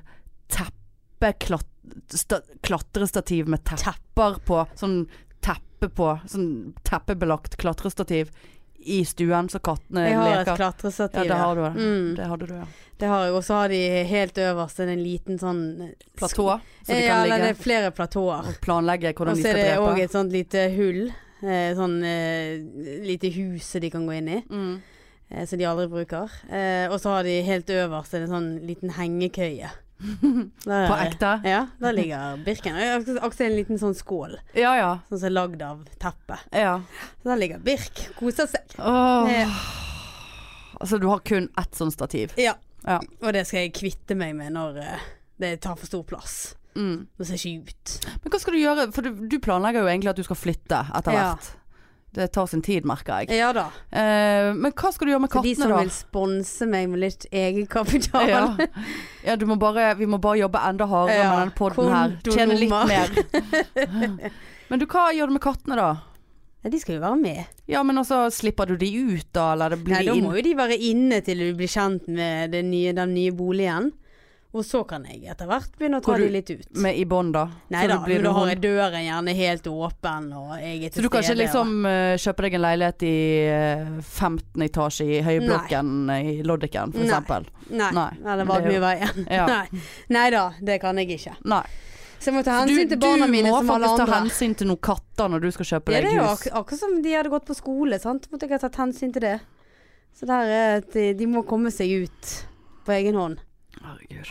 S2: teppeklatrestativ med tepper på? Sånn teppe på Sånn teppebelagt klatrestativ i stuen så kattene
S1: Jeg har et
S2: leker? Ja,
S1: klatrestativ.
S2: det har du. ja.
S1: Mm,
S2: Det hadde du, ja.
S1: det har jeg. Og så har de helt øverst en liten sånn
S2: Platå, så de
S1: Ja,
S2: kan
S1: eller det
S2: ligge
S1: er flere platåer.
S2: og planlegge
S1: Og
S2: hvordan de
S1: så er
S2: skal
S1: det òg
S2: drepe.
S1: et sånt lite hull. eh, Sånn eh, lite hus som de kan gå inn i,
S2: Mm.
S1: eh, som de aldri bruker. Eh, og så har de helt øverst en sånn liten hengekøye. Der,
S2: På ekte?
S1: Ja, der ligger Birken. Og jeg har Også en liten sånn skål,
S2: Ja ja.
S1: sånn som er lagd av teppe.
S2: ja.
S1: Så der ligger Birk, koser seg.
S2: Åh.
S1: Eh.
S2: Altså du har kun ett sånt stativ.
S1: Ja.
S2: Ja.
S1: Og det skal jeg kvitte meg med når eh, det tar for stor plass.
S2: Mm.
S1: Det ser ikke ut.
S2: Men hva skal du gjøre? For du, du planlegger jo egentlig at du skal flytte etter
S1: Ja.
S2: hvert. Det tar sin tid, merker jeg.
S1: Ja da.
S2: Eh, men hva skal du gjøre med
S1: For de
S2: kattene,
S1: som
S2: da?
S1: vil sponse meg med litt egenkapital.
S2: ja. ja, du må bare, vi må bare jobbe enda hardere
S1: Ja.
S2: med den podden her. Tjene litt mer. men du, hva gjør du med kattene, da?
S1: Nei, De skal jo være med.
S2: Ja, men altså, slipper du de ut, da? Eller det blir
S1: Nei,
S2: de
S1: da
S2: inn?
S1: må jo de være inne til du blir kjent med det nye, den nye boligen. Og så kan jeg etter hvert begynne å ta
S2: Hvor du-
S1: de litt ut.
S2: Med i bånd, da? Så
S1: Nei
S2: det
S1: da,
S2: blir en
S1: men da har
S2: hund.
S1: jeg døren gjerne helt åpen, og jeg er til
S2: Så du kan ikke
S1: stede,
S2: liksom eh, kjøpe deg en leilighet i eh, 15 etasje i høyblokken eh, i Loddiken, for
S1: Nei.
S2: eksempel?
S1: og- Nei,
S2: Nei,
S1: eller
S2: men det
S1: var
S2: er
S1: mye veien.
S2: Ja.
S1: Nei. Nei da, det kan jeg ikke.
S2: Nei.
S1: Så jeg må ta hensyn til barna mine som alle
S2: Du må faktisk ta
S1: andre.
S2: hensyn til noen katter når du skal kjøpe
S1: Ja,
S2: deg
S1: det er jo
S2: hus.
S1: ak akkurat som de hadde gått på skole, sant. Måtte jeg ha tatt hensyn til det. Så der er at de, de må komme seg ut på egen hånd.
S2: Herregud.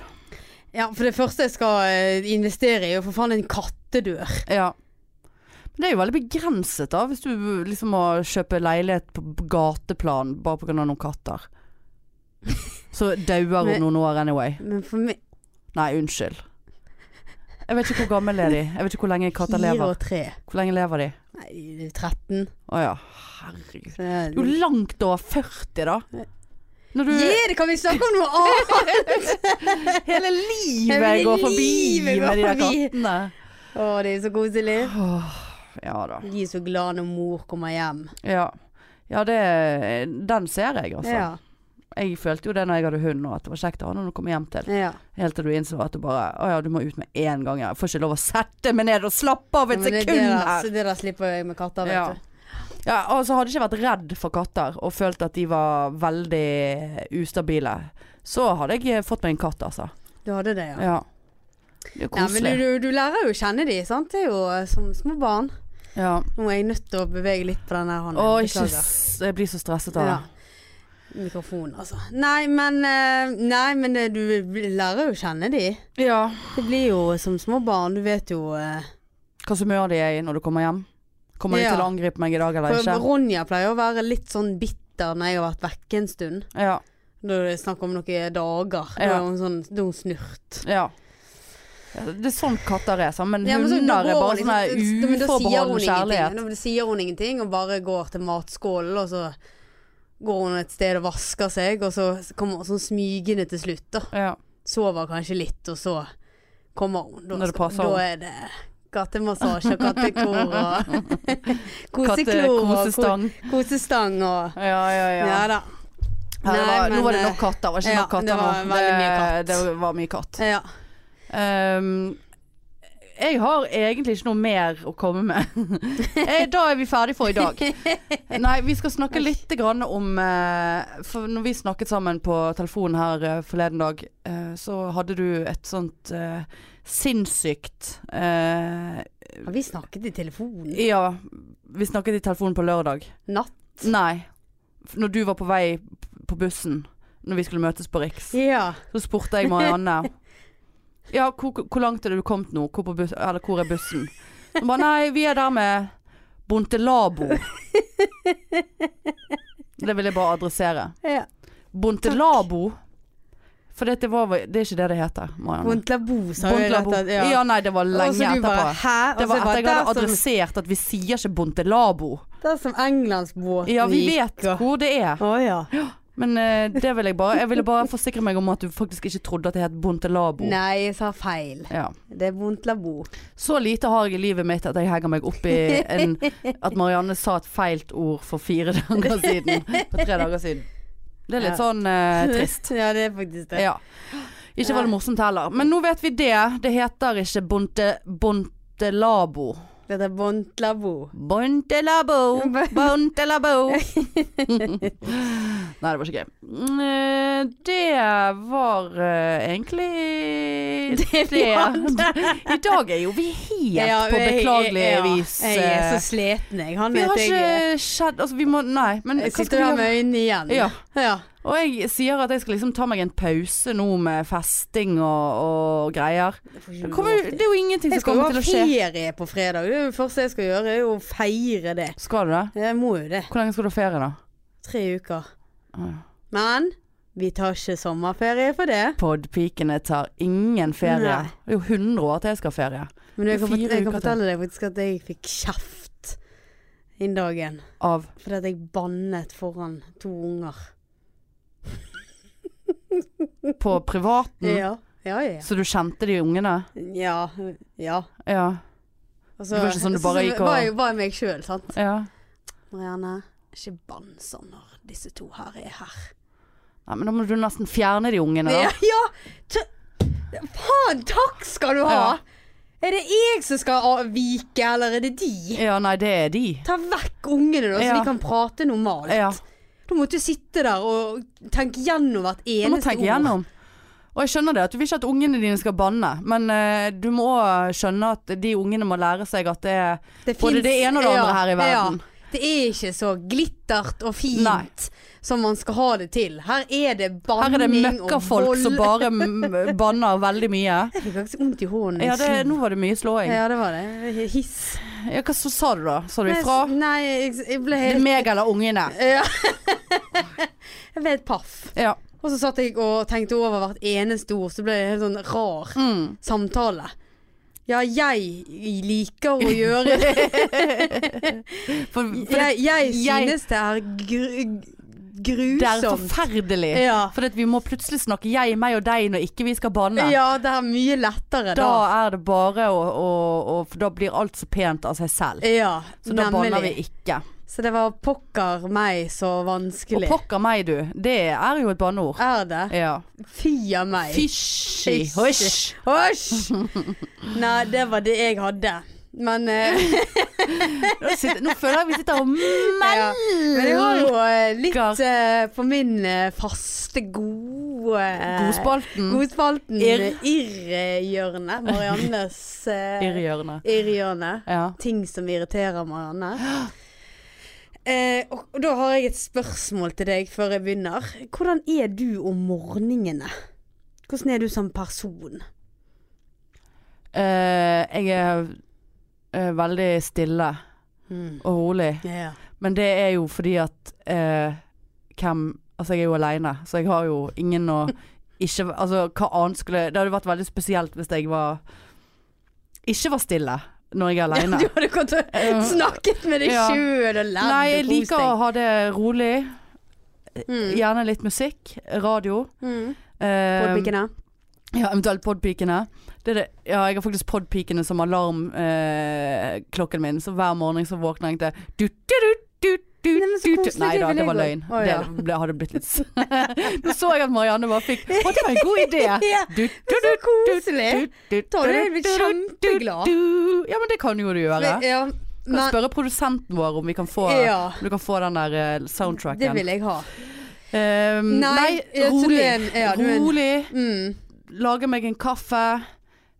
S1: Ja, for det første jeg skal eh, investere i, er jo for faen en kattedør.
S2: Ja. Men det er jo veldig begrenset da, hvis du liksom må kjøpe leilighet på gateplan bare pga. noen katter. Så dauer hun
S1: Men-
S2: noen år anyway.
S1: Men for meg
S2: Nei, unnskyld. Jeg vet ikke hvor gammel er de. Jeg vet ikke hvor lenge katter
S1: Fire
S2: lever.
S1: og tre.
S2: Hvor lenge lever de?
S1: Nei, det er 13.
S2: Å ja. Herregud.
S1: Så det er-
S2: Jo langt over 40, da. Når du
S1: Yeah, det kan vi snakke om noe annet!
S2: Hele
S1: Hele
S2: livet går forbi med
S1: livet går
S2: de der
S1: forbi.
S2: kattene.
S1: Å, det er så koselig.
S2: Åh, Ja da.
S1: De er så glad når mor kommer hjem.
S2: Ja, ja det, den ser jeg, altså.
S1: Ja.
S2: Jeg følte jo det når jeg hadde hund, og at det var kjekt å ha noen å komme hjem til.
S1: ja.
S2: Helt til du innså at du bare Å ja, du må ut med en gang. Jeg får ikke lov å sette meg ned og slappe av
S1: Men
S2: et
S1: det, altså. det,
S2: sekund
S1: der,
S2: her.
S1: det der slipper jeg med katter, vet
S2: Ja.
S1: du.
S2: ja, og så hadde jeg ikke vært redd for katter og følt at de var veldig ustabile. Så hadde jeg fått meg en katt, altså.
S1: Du hadde det, ja.
S2: Ja. Det er
S1: Nei, men
S2: koselig.
S1: du, du, du lærer jo å kjenne de, sant? Det er jo eh, som små barn.
S2: Ja.
S1: Nå er jeg nødt til å bevege litt på denne hånden.
S2: Å, ikke s- Jeg blir så stresset av det.
S1: Ja. Mikrofon, altså. Nei, men, eh, nei, men det, du lærer jo å kjenne de.
S2: Ja.
S1: Det blir jo eh, som små barn, du vet jo eh,
S2: Hva som gjør de er i når du kommer hjem? Kommer de
S1: Ja.
S2: til å angripe meg i dag eller
S1: For
S2: ikke?
S1: Ronja pleier å være litt sånn bitter når jeg har vært vekke en stund.
S2: Ja.
S1: Når det er snakk om noen dager. Da
S2: Ja.
S1: er hun sånn da er hun snurt.
S2: Ja. Ja, Det er sånn katter er, sånn, men
S1: Ja, men så- da
S2: hunder er
S1: går
S2: bare
S1: hun
S2: sånn her
S1: liksom- men da sier hun
S2: uforbeholden
S1: ingenting.
S2: kjærlighet.
S1: Da sier hun ingenting og bare går til matskålen, og så går hun et sted og vasker seg, og så kommer hun sånn smygende til slutt, da.
S2: Ja.
S1: Sover kanskje litt, og så kommer hun. Da,
S2: Når det
S1: skal-
S2: passer
S1: da
S2: hun.
S1: er det kattemassasje og kattekor og koseklor og ko-
S2: Kattekosestang.
S1: kosestang og
S2: Ja, ja, ja.
S1: Ja da.
S2: Her
S1: Nei,
S2: var,
S1: men,
S2: nå var det
S1: eh,
S2: nok katter, var ikke
S1: ja,
S2: nok katter
S1: det var
S2: nå.
S1: veldig mye katt.
S2: Det, det var mye katt.
S1: Ja.
S2: Ehm, jeg har egentlig ikke noe mer å komme med. Eh, da er vi ferdig for i dag. Nei, vi skal snakke litt grann om eh, For når vi snakket sammen på telefonen her eh, forleden dag, eh, så hadde du et sånt eh, sinnssykt eh,
S1: Har vi snakket i telefonen?
S2: Ja, vi snakket i telefonen på lørdag.
S1: Natt?
S2: Nei. F- Når du var på vei p- på bussen, når vi skulle møtes på Riks,
S1: Ja.
S2: så spurte jeg Marianne Ja, hvor, hvor langt er det du kommet nå? Hvor, på bus eller, hvor er bussen? Hun bare Nei, vi er der med Bontelabo. Det vil jeg bare adressere.
S1: ja.
S2: Bontelabo. For det, det, var, det er ikke det det heter, Marianne.
S1: Bontlabo sa jo
S2: Bontelabo.
S1: dette. at-
S2: Ja.
S1: Ja.
S2: nei, det var
S1: Og
S2: lenge
S1: så du
S2: etterpå.
S1: bare hæ?
S2: det
S1: Og så
S2: var
S1: jeg
S2: etter
S1: bare,
S2: jeg hadde
S1: der som,
S2: adressert at vi sier ikke Bontelabo.
S1: der som Englandsbåten
S2: Ja, vi
S1: gikk,
S2: vet
S1: og-
S2: hvor det er.
S1: Å ja.
S2: Men eh, det vil jeg bare Jeg ville bare forsikre meg om at du faktisk ikke trodde at det het Bontelabo.
S1: Nei, jeg sa feil.
S2: Ja.
S1: Det er Bontlabo.
S2: Så lite har jeg i livet mitt at jeg henger meg opp i en, at Marianne sa et feilt ord for fire dager siden. For tre dager siden. Det er litt
S1: Ja.
S2: sånn eh, trist.
S1: ja, det er faktisk det.
S2: Ja. Ikke var det morsomt heller. Men nå vet vi det. Det heter ikke Bonte, Bontelabo.
S1: Dette er Bontlabo.
S2: Bontelabo, Bontelabo. Nei, det var ikke gøy. Mm, eh, Det var eh, egentlig
S1: Det vi hadde.
S2: I dag er jo vi helt på beklagelig
S1: jeg, jeg,
S2: vis.
S1: Jeg er
S2: eh,
S1: så sliten, jeg. Han
S2: Vi
S1: vet
S2: har
S1: jeg er-
S2: ikke skjedd Altså, vi må Nei, men
S1: Jeg
S2: hva skal vi
S1: sitter her
S2: gjøre?
S1: med øynene igjen.
S2: Ja.
S1: ja.
S2: Og jeg sier at jeg skal liksom ta meg en pause nå med festing og, og greier. Det kommer jo- det er jo ingenting
S1: Jeg
S2: som
S1: skal jo
S2: kommer til
S1: ha
S2: å skje.
S1: ferie på fredag. Det er jo det første jeg skal gjøre, er jo å feire det.
S2: Skal du det?
S1: Jeg må jo det.
S2: Hvor lenge skal du ha ferie, da?
S1: Tre uker.
S2: Ah.
S1: Men vi tar ikke sommerferie for det.
S2: Podpikene tar ingen ferie.
S1: Nei.
S2: Det er jo 100 år til jeg skal ha ferie.
S1: Men jeg
S2: Det er
S1: kan, fort-
S2: fire
S1: jeg kan
S2: uker til.
S1: fortelle deg faktisk at jeg fikk kjeft den dagen.
S2: Av
S1: Fordi at jeg bannet foran to unger.
S2: på privaten.
S1: Ja, ja, ja.
S2: Så du kjente de ungene?
S1: Ja. ja.
S2: Ja.
S1: Og
S2: Det var ikke sånn du bare gikk og-
S1: var jeg var jeg meg sjøl, sant.
S2: ja.
S1: Marianne, ikke bann sånn når disse to her er her.
S2: Nei, men da må du nesten fjerne de ungene, da.
S1: Ja, ja. t- Faen, takk skal du ha! Er det jeg som skal ah, vike, eller er det de?
S2: Ja, nei, det er de.
S1: Ta vekk ungene, da, så
S2: Ja.
S1: de kan prate normalt.
S2: Ja.
S1: Du måtte jo sitte der og tenke gjennom hvert
S2: Du må
S1: eneste
S2: tenke igjennom. Og jeg skjønner det, at du vil ikke at ungene dine skal banne, men eh, du må skjønne at de ungene må lære seg at det er
S1: Det
S2: både
S1: finnes-
S2: det ene og det andre her i verden.
S1: Ja. Det er ikke så glittert og fint
S2: Nei.
S1: som man skal ha det til. Her
S2: Her er
S1: er det
S2: det
S1: banning og
S2: møkkafolk
S1: vold.
S2: som bare m- banner veldig mye.
S1: Jeg fikk faktisk vondt i hånden.
S2: Ja, det, nå var det mye slåing.
S1: ja, det var det. Hiss.
S2: Ja, hva så sa du da? Sa du
S1: Nei,
S2: ifra?
S1: s- eh, Nei, jeg, jeg ble
S2: Det er
S1: helt
S2: meg eller ungene.
S1: ja. Jeg ble helt paff.
S2: Ja.
S1: Og så satt jeg og tenkte over hvert eneste ord, så ble det en helt sånn rar
S2: Mm.
S1: samtale. Ja, jeg liker å gjøre det.
S2: For, for det,
S1: Jeg, jeg
S2: jeg-
S1: synes det er gru-
S2: det
S1: grusomt.
S2: er forferdelig.
S1: Ja.
S2: For at vi må plutselig snakke jeg, meg og deg når ikke vi skal banne.
S1: ja, det er mye
S2: Da
S1: lettere da.
S2: er det bare å, å, å For da blir alt så pent av seg selv.
S1: Ja,
S2: Så da banner vi
S1: nemlig.
S2: ikke.
S1: Så det var pokker meg så
S2: Og
S1: vanskelig.
S2: pokker meg, du. Det er jo et banneord.
S1: er det?
S2: Ja.
S1: Fy av meg.
S2: Fysj.
S1: Fysj.
S2: Hysj.
S1: Hysj! Nei, det var det jeg hadde. Men, eh,
S2: Nå sitter- Nå føler jeg vi sitter og
S1: ja. Men jeg har
S2: melker
S1: jo eh, litt eh, på min eh, faste gode eh,
S2: godspalten
S1: Godspalten.
S2: Irr.
S1: Irrhjørnet. Mariannes eh,
S2: i hjørnet.
S1: irrhjørne.
S2: Ja.
S1: Ting som irriterer Marianne. Eh, og, og da har jeg et spørsmål til deg før jeg begynner. Hvordan er du om morgenene? Hvordan er du som person?
S2: Eh, jeg er eh, veldig stille og rolig.
S1: Ja.
S2: Men det er jo fordi at eh, hvem Altså, jeg er jo aleine, så jeg har jo ingen å ikke Altså, hva annet skulle Det hadde vært veldig spesielt hvis jeg var Ikke var stille når jeg er
S1: Ja,
S2: aleine.
S1: du hadde gått og
S2: Ja.
S1: snakket med deg
S2: Ja.
S1: sjøl og ledd
S2: Nei, jeg
S1: og kost
S2: liker å ha det rolig.
S1: deg. Mm.
S2: Gjerne litt musikk. Radio.
S1: Mm.
S2: Eh,
S1: Podpikene.
S2: Ja, eventuelt podpikene. Det er det. Ja, jeg har faktisk podpikene som alarmklokken eh, klokken min, så hver morgen så våkner jeg til du, du, du, du, du,
S1: Nei, men så
S2: du, du.
S1: koselig,
S2: Nei
S1: det
S2: da,
S1: vil
S2: det
S1: jeg
S2: var
S1: gå.
S2: løgn.
S1: Å, ja.
S2: Det ble, hadde blitt litt s- Nå så jeg at Marianne bare fikk Å, det var en god idé!
S1: Ja,
S2: Du, du,
S1: Så
S2: du,
S1: koselig!
S2: du, du,
S1: Da hadde jeg blitt
S2: du, du, du,
S1: kjempeglad.
S2: du. Ja, men det kan jo du gjøre.
S1: Ja,
S2: Du kan
S1: men
S2: spørre produsenten vår om vi kan få,
S1: Ja.
S2: om du kan få den der eh, soundtracken.
S1: det vil jeg ha.
S2: Eh,
S1: Nei,
S2: nei,
S1: jeg tror du
S2: rolig.
S1: er en- ja, du er en-
S2: rolig.
S1: Mm.
S2: Lage meg en kaffe.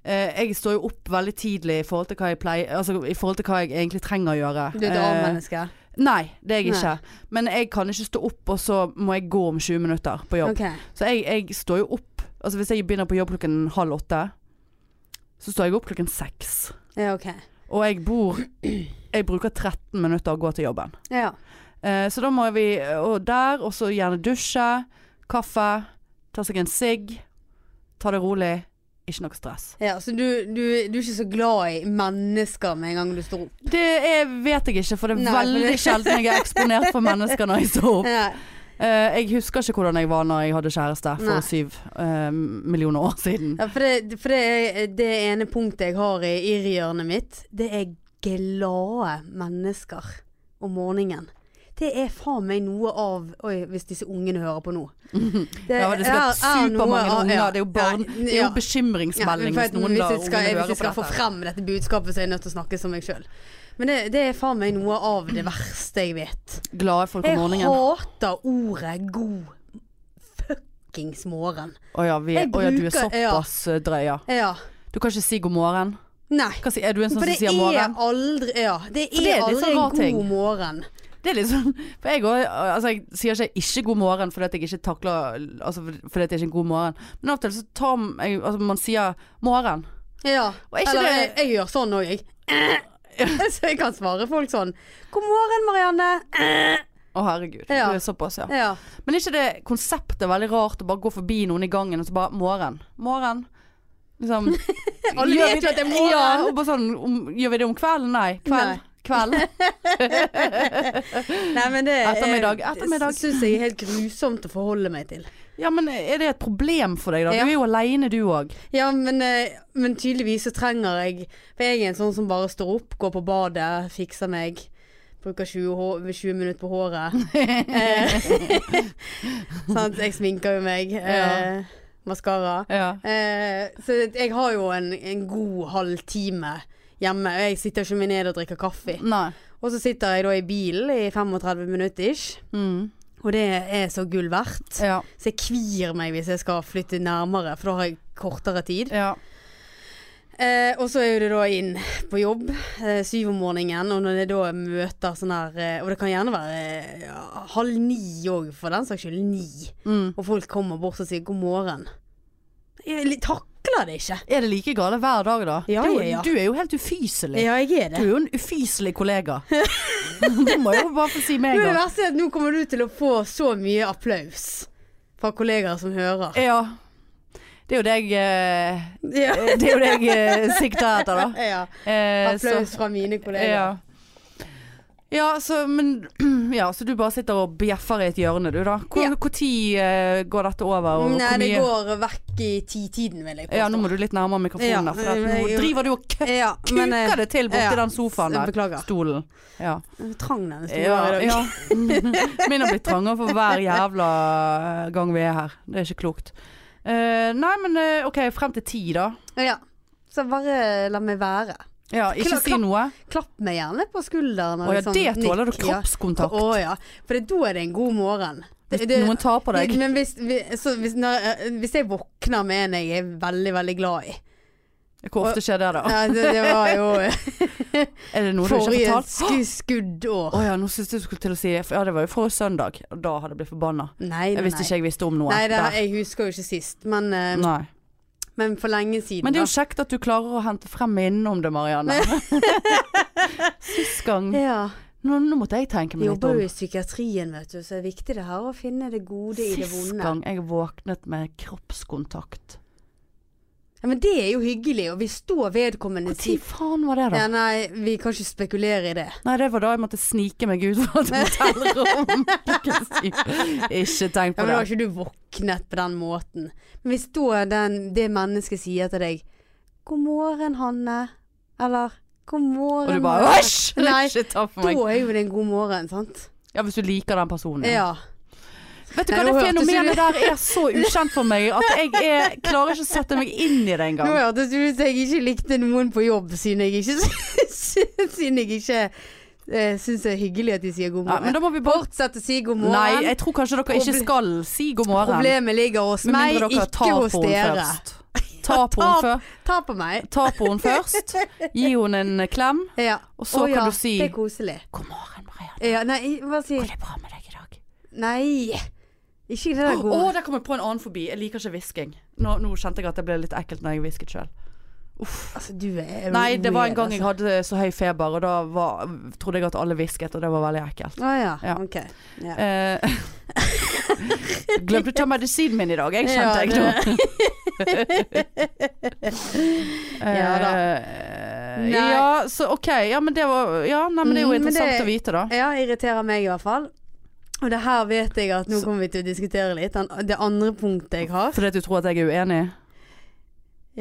S2: eh, jeg står jo opp veldig tidlig i forhold til hva jeg pleier Altså i forhold til hva jeg egentlig trenger å gjøre.
S1: Du er et
S2: Eh,
S1: A-menneske.
S2: Nei, det er jeg
S1: Nei.
S2: ikke. Men jeg kan ikke stå opp, og så må jeg gå om 20 minutter på jobb.
S1: Ok.
S2: Så jeg, jeg står jo opp Altså hvis jeg begynner på jobb klokken halv åtte, så står jeg opp klokken seks.
S1: Ja, ok.
S2: Og jeg bor Jeg bruker 13 minutter å gå til jobben.
S1: Ja.
S2: Eh, så da må vi og der, og så gjerne dusje, kaffe, ta seg en sigg. Ta det rolig. Ikke noe stress.
S1: ja så du, du, du er ikke så glad i mennesker med en gang du står opp?
S2: Det er, vet jeg ikke, for det er
S1: Nei, for
S2: veldig
S1: det-
S2: sjelden jeg er eksponert for mennesker når jeg står opp.
S1: Nei.
S2: Eh, jeg husker ikke hvordan jeg var når jeg hadde kjæreste for
S1: Nei.
S2: syv eh, millioner år siden.
S1: Ja, for det, for det, er- det ene punktet jeg har i irrhjørnet mitt, det er glade mennesker om morgenen. Det er faen meg noe av Oi, hvis disse ungene hører på nå. Det
S2: Ja, det er sikkert supermange unger. Det er jo barn. Det er jo bekymringsmelding
S1: ja,
S2: hvis noen
S1: hvis
S2: lar
S1: jeg skal,
S2: ungene
S1: hvis
S2: høre
S1: jeg
S2: på
S1: skal få
S2: dette.
S1: frem dette budskapet, så er jeg nødt til å snakke som meg sjøl. Men det, det er faen meg noe av det verste jeg vet.
S2: Glade folk om
S1: Jeg
S2: morgenen.
S1: hater ordet god fuckings morgen.
S2: Å ja, vi,
S1: Jeg
S2: å ja, du er
S1: bruker- ja.
S2: såpass eh, drøy, ja.
S1: Ja.
S2: Du kan ikke si god morgen.
S1: Nei.
S2: Hva si, er du en sånn
S1: For
S2: som
S1: det
S2: sier
S1: er
S2: morgen?
S1: aldri Ja, det er,
S2: For det er litt
S1: aldri
S2: sånn
S1: en
S2: rar
S1: god
S2: ting.
S1: morgen.
S2: Det er litt sånn For jeg òg Altså, jeg sier ikke ikke god morgen fordi at jeg ikke takler Altså fordi at det er ikke en god morgen. Men av og til så tar m- jeg Altså, man sier morgen.
S1: Ja.
S2: Og er ikke
S1: Eller jeg,
S2: det-
S1: jeg gjør sånn òg, jeg. Så jeg kan svare folk sånn. God morgen, Marianne.
S2: Å herregud.
S1: Ja.
S2: Du er såpass, ja.
S1: Ja.
S2: Men er ikke det konseptet veldig rart å bare gå forbi noen i gangen og så bare Morgen. Morgen. Liksom
S1: Alle
S2: gjør
S1: vet
S2: vi
S1: jo at det er morgen.
S2: Ja, og bare sånn om, Gjør vi det om kvelden? Nei. Kveld.
S1: Nei.
S2: Kveld.
S1: Nei, men det er-
S2: Ettermiddag, ettermiddag.
S1: Eh, syns jeg er helt grusomt å forholde meg til.
S2: Ja, men er det et problem for deg, da?
S1: Ja.
S2: Du er jo aleine, du òg.
S1: Ja, men, eh, men tydeligvis så trenger jeg For jeg er en sånn som bare står opp, går på badet, fikser meg. Bruker 20, hå- 20 minutter på håret. Eh, sant? Jeg sminker jo meg. Eh, Maskara.
S2: Ja.
S1: Eh, så jeg har jo en, en god halvtime hjemme. og Jeg sitter ikke meg ned og drikker kaffe.
S2: Nei.
S1: Og så sitter jeg da i bilen i 35 minutter ish.
S2: Mm.
S1: Og det er så gull verdt.
S2: Ja.
S1: Så jeg kvir meg hvis jeg skal flytte nærmere, for da har jeg kortere tid.
S2: ja.
S1: Eh, og så er jo det da inn på jobb eh, syv om morgenen, og når jeg da møter sånn her eh, Og det kan gjerne være eh, ja, halv ni òg, for den saks skyld. Ni.
S2: Mm.
S1: Og folk kommer bort og sier 'god morgen'. Jeg li- takler det ikke.
S2: Er det like gale hver dag, da?
S1: Ja,
S2: du,
S1: ja, ja.
S2: du er jo helt ufyselig.
S1: Ja, jeg er
S2: Du
S1: det.
S2: er jo en ufyselig kollega. det må jeg jo bare få si meg,
S1: Men det
S2: da.
S1: verste er at nå kommer du til å få så mye applaus fra kollegaer som hører.
S2: Ja. Det er jo det jeg eh,
S1: Ja.
S2: Det er jo det jeg eh, sikter etter, da.
S1: ja.
S2: Eh,
S1: Applaus fra mine
S2: så,
S1: kollegaer.
S2: ja. ja, så men Ja, så du bare sitter og bjeffer i et hjørne, du, da. Hvor,
S1: Ja.
S2: Hvor tid eh, går dette over, og
S1: Nei,
S2: hvor
S1: det
S2: mye
S1: går vekk i ti-tiden, vil jeg påstå.
S2: Ja, nå må du litt nærmere mikrofonen,
S1: Ja,
S2: da, for at nå
S1: jeg-
S2: driver du og k-
S1: ja, men, eh,
S2: kuker det til borti
S1: ja.
S2: den sofaen der.
S1: Beklager.
S2: Stolen. Ja.
S1: Trang den store i
S2: Ja, Mm.
S1: dag.
S2: ja. Min har blitt trangere for hver jævla eh, gang vi er her. Det er ikke klokt. Eh, nei, men eh, OK, frem til ti, da.
S1: Ja. Så bare la meg være.
S2: Ja, ikke
S1: Klapp,
S2: si
S1: klapp.
S2: noe.
S1: Klapp meg gjerne på skulderen.
S2: Å
S1: eller
S2: ja,
S1: sånn
S2: det tåler du.
S1: nikk, ja.
S2: Kroppskontakt.
S1: Å ja. For det, da er det en god morgen.
S2: Hvis
S1: Det, det,
S2: noen tar på deg.
S1: Men hvis, vi- så hvis, når, eh, hvis jeg våkner med en jeg er veldig, veldig glad i
S2: Hvor ofte skjer det, da?
S1: ja, det, det var jo
S2: Er det noe du ikke
S1: forrige
S2: har fortalt?
S1: sku, skuddår.
S2: Å ja, nå syns jeg du skulle til å si Ja, det var jo forrige søndag. Og da hadde jeg blitt forbanna.
S1: Nei, nei.
S2: Jeg visste ikke jeg visste om noe.
S1: Nei, det,
S2: der.
S1: jeg husker jo ikke sist, men, eh,
S2: nei.
S1: men for lenge siden.
S2: Men det er jo kjekt at du klarer å hente frem minnene om det, Marianne. Sist gang
S1: da.
S2: nå,
S1: ja.
S2: nå måtte jeg tenke
S1: Jeg
S2: meg litt
S1: jobber
S2: om.
S1: jo i psykiatrien, vet du, så det er viktig det her å finne det gode i det
S2: Sist
S1: vonde.
S2: gang jeg våknet med kroppskontakt.
S1: Ja, men det er jo hyggelig, og hvis da vedkommende
S2: Når faen var det, da?
S1: ja, Nei, vi kan ikke spekulere i det.
S2: Nei, det var da jeg måtte snike meg ut fra et hotellrom. Klokken syv. Ikke tenk på
S1: Ja, men da har
S2: det.
S1: ikke du våknet på den måten. Men hvis da den, det mennesket sier til deg 'God morgen, Hanne', eller
S2: Og
S1: 'God morgen',
S2: du bare
S1: Marianne»,
S2: Æsj!
S1: Nei,
S2: Ikke ta på
S1: Da
S2: meg.
S1: er jo det en god morgen, sant?
S2: Ja, hvis du liker den personen. ja.
S1: Ja.
S2: Vet du hva,
S1: Nei, nå
S2: det
S1: hørtes
S2: fenomenet der er så ukjent for meg at jeg er, klarer ikke å sette meg inn i det
S1: Nå
S2: engang.
S1: hørtes det ut som jeg ikke likte noen på jobb, siden jeg ikke, siden jeg ikke eh, syns det er hyggelig at de sier god
S2: Ja,
S1: morgen.
S2: men da må vi bare
S1: Fortsett å si god morgen.
S2: Nei, jeg tror kanskje dere ikke skal si god morgen.
S1: Problemet ligger hos
S2: Med
S1: meg,
S2: mindre dere
S1: ikke
S2: tar
S1: hos
S2: på
S1: dere.
S2: henne først. Ta på
S1: Ta-
S2: henne før.
S1: Ta på meg.
S2: Ta på henne først. Gi henne en klem.
S1: Ja.
S2: Og så
S1: Å
S2: kan
S1: ja,
S2: du si
S1: Det er koselig.
S2: God morgen, Marianne.
S1: Ja, nei, hva sier
S2: Går det bra med deg i dag?
S1: Nei. Ikke det
S2: Å,
S1: der gode.
S2: der kom jeg på en annen forbi. Jeg liker ikke hvisking. Nå, nå kjente jeg at det ble litt ekkelt når jeg hvisket sjøl.
S1: Altså, du er
S2: Nei, det var en
S1: weird,
S2: gang jeg
S1: altså.
S2: hadde så høy feber, og da var, trodde jeg at alle hvisket, og det var veldig ekkelt.
S1: Å ja.
S2: Ja.
S1: Ok. Ja.
S2: Eh, Glemte å ta medisinen min i dag, jeg
S1: Ja,
S2: kjente jeg nå.
S1: Ja da.
S2: Eh,
S1: Nei.
S2: ja, så OK. Ja, men det, var, ja, nei, men det er jo
S1: Mm, men det-
S2: interessant å vite, da.
S1: ja, irriterer meg i hvert fall. Og det her vet jeg at nå kommer vi til å diskutere litt. Den, det andre punktet jeg har
S2: Fordi at du tror at jeg er uenig?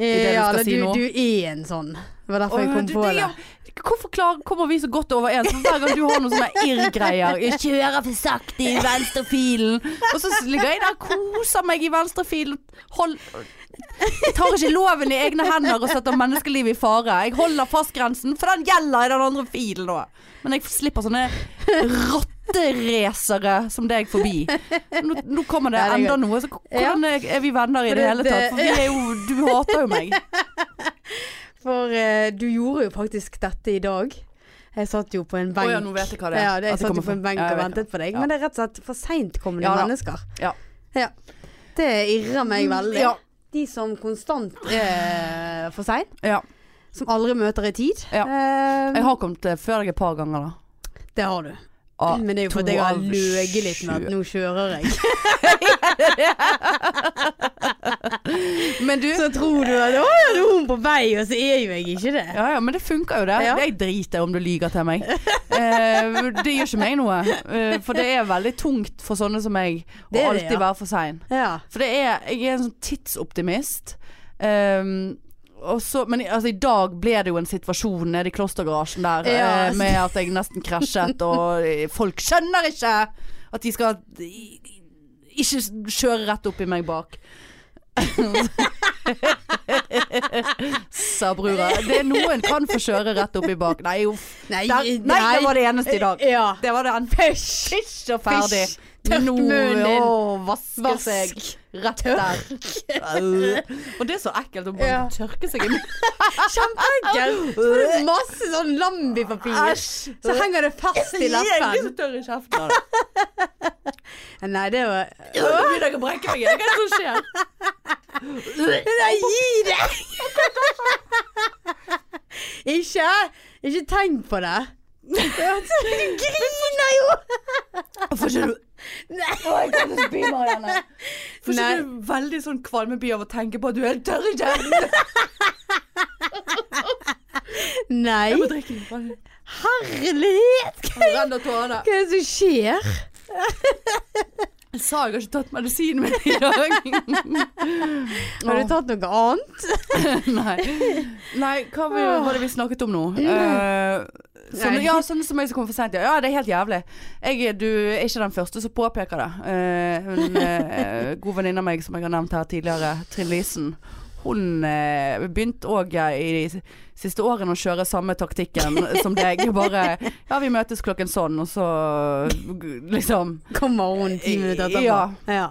S2: det du
S1: ja,
S2: skal
S1: eller
S2: si
S1: du,
S2: nå.
S1: du er en sånn. Det var derfor jeg
S2: Åh,
S1: kom
S2: du-
S1: på
S2: du-
S1: det.
S2: ja. Hvorfor klar, kommer vi så godt overens? For Hver gang du har noen sånne irr-greier. Jeg kjører for sakte i venstrefilen. Og så ligger jeg der og koser meg i venstrefilen. Hold Jeg tar ikke loven i egne hender og setter menneskeliv i fare. Jeg holder fastgrensen, for den gjelder i den andre filen nå. Men jeg slipper sånne rotteracere som deg forbi. Nå, nå kommer det
S1: Ja, det er
S2: enda noe. Så k- hvordan er er vi venner i
S1: For
S2: det
S1: det-
S2: hele tatt? For vi er jo Du hater jo meg.
S1: For eh, du gjorde jo faktisk dette i dag. Jeg satt jo på en benk.
S2: Å ja, nå vet jeg hva det er.
S1: Ja, det,
S2: At det
S1: jeg satt jo
S2: kommer
S1: på en
S2: fra-
S1: benk
S2: Ja, jeg
S1: og
S2: vet
S1: ventet på deg.
S2: Ja.
S1: Men det er rett og slett for seintkommende
S2: Ja da.
S1: mennesker.
S2: Ja.
S1: Ja. Det irrer meg veldig.
S2: Ja.
S1: De som konstant er for sein.
S2: Ja.
S1: Som aldri møter i tid.
S2: Ja.
S1: Eh,
S2: Jeg har kommet eh, før deg et par ganger, da.
S1: det har du.
S2: Ah,
S1: Men det er jo fordi
S2: to
S1: jeg har
S2: av
S1: løyet litt
S2: sju.
S1: med at nå kjører jeg.
S2: Men du
S1: Så tror du at å, ja, nå er hun på vei, og så er jo jeg ikke det.
S2: ja, ja, men det funker jo det.
S1: Ja.
S2: Jeg driter om du lyver til meg. Eh, det gjør ikke meg noe. Eh, for det er veldig tungt for sånne som meg å
S1: Det er det,
S2: alltid
S1: ja.
S2: være for sein.
S1: Ja.
S2: For det er, jeg er en sånn tidsoptimist. Ehm, og så, men i- altså, i dag ble det jo en situasjon nede i klostergarasjen der
S1: Ja.
S2: eh, med at jeg nesten krasjet, og eh, folk skjønner ikke at de skal i- i- ikke s- kjøre rett opp i meg bak. Sa brura. Det er noen kan få kjøre rett opp i bak. Nei, uff.
S1: Nei,
S2: Der, nei, det var det eneste i dag.
S1: Ja.
S2: Det var den.
S1: Pysj!
S2: Ikke ferdig.
S1: Tørt
S2: Nå,
S1: munnen din.
S2: å, vaske seg.
S1: Vask.
S2: Rett der. Og det er så ekkelt å bare
S1: Ja.
S2: tørke seg i munnen.
S1: Kjempeenkelt. Så får du masse sånn Lambi-papir. Så henger det fast i
S2: Jeg er
S1: leppen.
S2: så tørr i kjeften av det.
S1: Nei, det var
S2: Nå begynner jeg å brekke meg. igjen. Hva er det som skjer?
S1: Nei, gi deg! Ikke Ikke tenk på det. Du griner jo!
S2: Får ikke du
S1: Nei.
S2: Å, jeg kan ikke spy, Marianne. Får
S1: Nei.
S2: ikke du veldig sånn kvalmeby av å tenke på at du er helt tørr i kjeften?
S1: Nei.
S2: Jeg må drikke litt. vann.
S1: Herlighet! Hva
S2: Det renner tårene.
S1: er det som skjer?
S2: Jeg sa jeg har ikke tatt medisinen min i dag.
S1: Har du tatt noe annet?
S2: Nei. Nei, hva vi, var det vi snakket om nå? Eh, sånne,
S1: Nei.
S2: ja, sånne som jeg som kommer for sent. Ja, Ja, det er helt jævlig. Jeg, du er ikke den første som påpeker det. Eh, en eh, god venninne av meg som jeg har nevnt her tidligere, Trine Lisen. Hun eh, begynte òg i de siste årene å kjøre samme taktikken som deg. Bare Ja, vi møtes klokken sånn, og så liksom
S1: Kommer hun ti minutter etterpå?
S2: Ja.
S1: ja.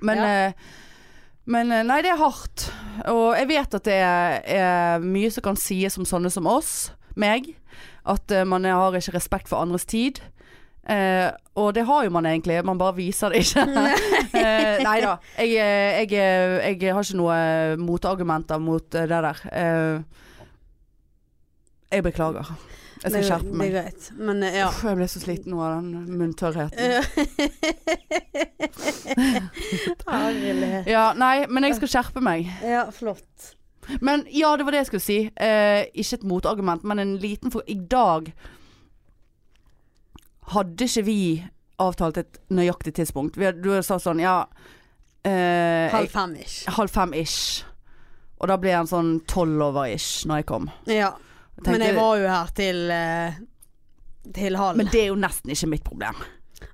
S2: men, eh, men eh, nei, det er hardt. Og jeg vet at det er, er mye som kan sies om sånne som oss, meg. At eh, man har ikke respekt for andres tid. Eh, og det har jo man egentlig, man bare viser det ikke. uh, nei da. Jeg, eh, jeg, eh, jeg har ikke noe eh, motargumenter mot eh, det der. Eh, jeg beklager. Jeg skal
S1: Det er-
S2: skjerpe meg.
S1: Det er greit. Men eh, ja.
S2: Uff, jeg ble så sliten nå av den munntørrheten.
S1: Herlighet.
S2: Ja, nei, men jeg skal skjerpe meg.
S1: Ja, flott.
S2: Men ja, det var det jeg skulle si. Eh, ikke et motargument, men en liten for I dag hadde ikke vi avtalt et nøyaktig tidspunkt. Vi, hadde- du sa sånn ja eh,
S1: Halv fem ish.
S2: jeg- halv fem ish. Og da ble han sånn tolv over ish når jeg kom.
S1: Ja.
S2: Jeg
S1: Men
S2: tenkte,
S1: jeg var jo her til eh, Til halv.
S2: men det er jo nesten ikke mitt problem.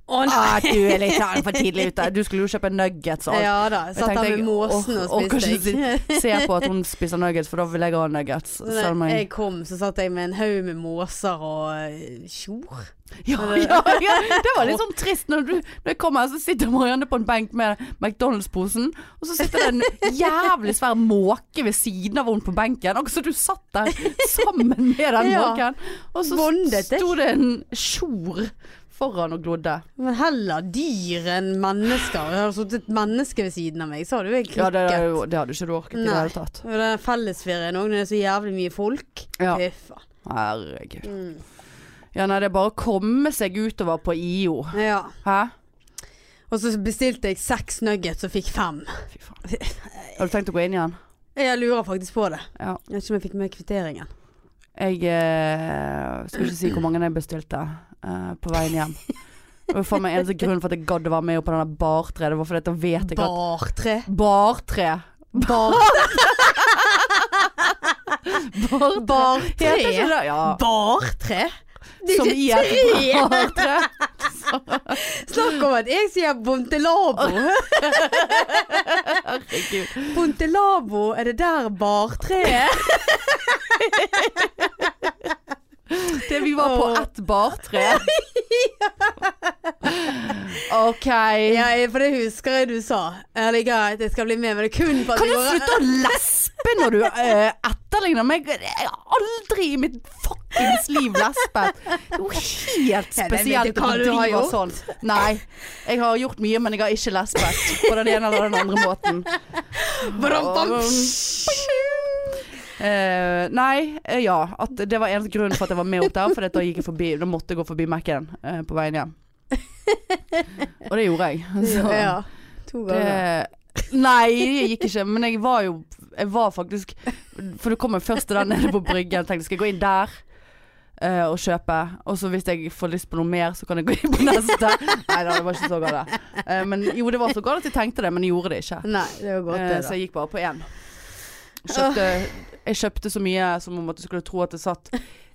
S1: Å Å nei!
S2: Ah, du er litt sånn for tidlig ute. Du skulle jo kjøpe nuggets og alt.
S1: Ah, Ja da. Satt der med måsen
S2: «Åh,
S1: og
S2: åh, kanskje
S1: spiste. Jeg.
S2: si- Se på at hun spiser nuggets, for da vil jeg ha nuggets.
S1: Så
S2: Selv om
S1: da
S2: jeg-
S1: jeg kom, så satt jeg med en haug med måser og eh, tjor.
S2: Ja,
S1: eh,
S2: ja, ja, det var litt sånn trist når du når jeg kommer, så sitter Marianne på en benk med McDonald's-posen, og så sitter det en jævlig svær måke ved siden av henne på benken. Og så du satt der sammen med den
S1: Ja.
S2: måken, og så
S1: Bondet deg.
S2: sto det en tjor foran og glodde.
S1: Men heller dyr enn mennesker. Hadde det sittet et menneske ved siden av meg, så hadde jo jeg
S2: Ja, det,
S1: krukket.
S2: jo- det hadde ikke du orket i det
S1: Nei.
S2: hele tatt.
S1: Og den fellesferien òg, når det er så jævlig mye folk.
S2: Ja.
S1: Fy faen.
S2: Herregud.
S1: Mm.
S2: Ja, nei, det er bare å komme seg utover på IO.
S1: Ja.
S2: Hæ?
S1: Og så bestilte jeg seks nuggets og fikk fem.
S2: Fy faen. Har du tenkt å gå inn igjen?
S1: Jeg lurer faktisk på det.
S2: Ja.
S1: Jeg vet ikke om jeg fikk med kvitteringen.
S2: Jeg eh, skal ikke si hvor mange jeg bestilte eh, på veien hjem. Det var faen meg eneste grunnen for at jeg gadd å være med på denne bartre. Det var fordi at da vet jeg at
S1: Bar tre.
S2: Bartre. Bar... bartre.
S1: Bar
S2: Heter ikke
S1: tre.
S2: det? Ja.
S1: Bar tre? Det
S2: Som
S1: er
S2: i
S1: ikke tre!
S2: et bartre.
S1: Snakk om at jeg sier Bontelabo.
S2: Herregud.
S1: Bontelabo, er det der bartreet?
S2: Det vi var på
S1: Åh.
S2: ett bartre. OK.
S1: Ja, for det husker jeg du sa. Er det greit, jeg skal bli med, men det er kun for at
S2: Kan du
S1: jeg går-
S2: slutte å lespe når du eh, etterligner meg? Jeg har aldri i mitt fuckings liv lespet. Det er jo helt
S1: Ja, det vet
S2: spesielt
S1: du hva du har gjort.
S2: sånn. Nei, jeg har gjort mye, men jeg har ikke lespet på den ene eller den andre måten.
S1: Bram, bam.
S2: Eh, nei, eh, ja. At det var eneste grunn for at jeg var med opp der, for da, gikk jeg forbi, da måtte jeg gå forbi Mac-en eh, på veien hjem. Og det gjorde jeg. Så.
S1: Ja. To ganger.
S2: Det, nei, det gikk ikke. Men jeg var jo Jeg var faktisk For du kommer først til den nede på bryggen. Tenkte skal jeg gå inn der eh, og kjøpe. Og så hvis jeg får lyst på noe mer, så kan jeg gå inn på neste. Nei da, det var ikke så galt. Eh, men jo, det var så galt at jeg tenkte det, men jeg gjorde det ikke.
S1: Nei, det var godt,
S2: Eh,
S1: det.
S2: så
S1: da.
S2: jeg gikk bare på én. Kjøpte, jeg kjøpte så mye som om at du skulle tro at det satt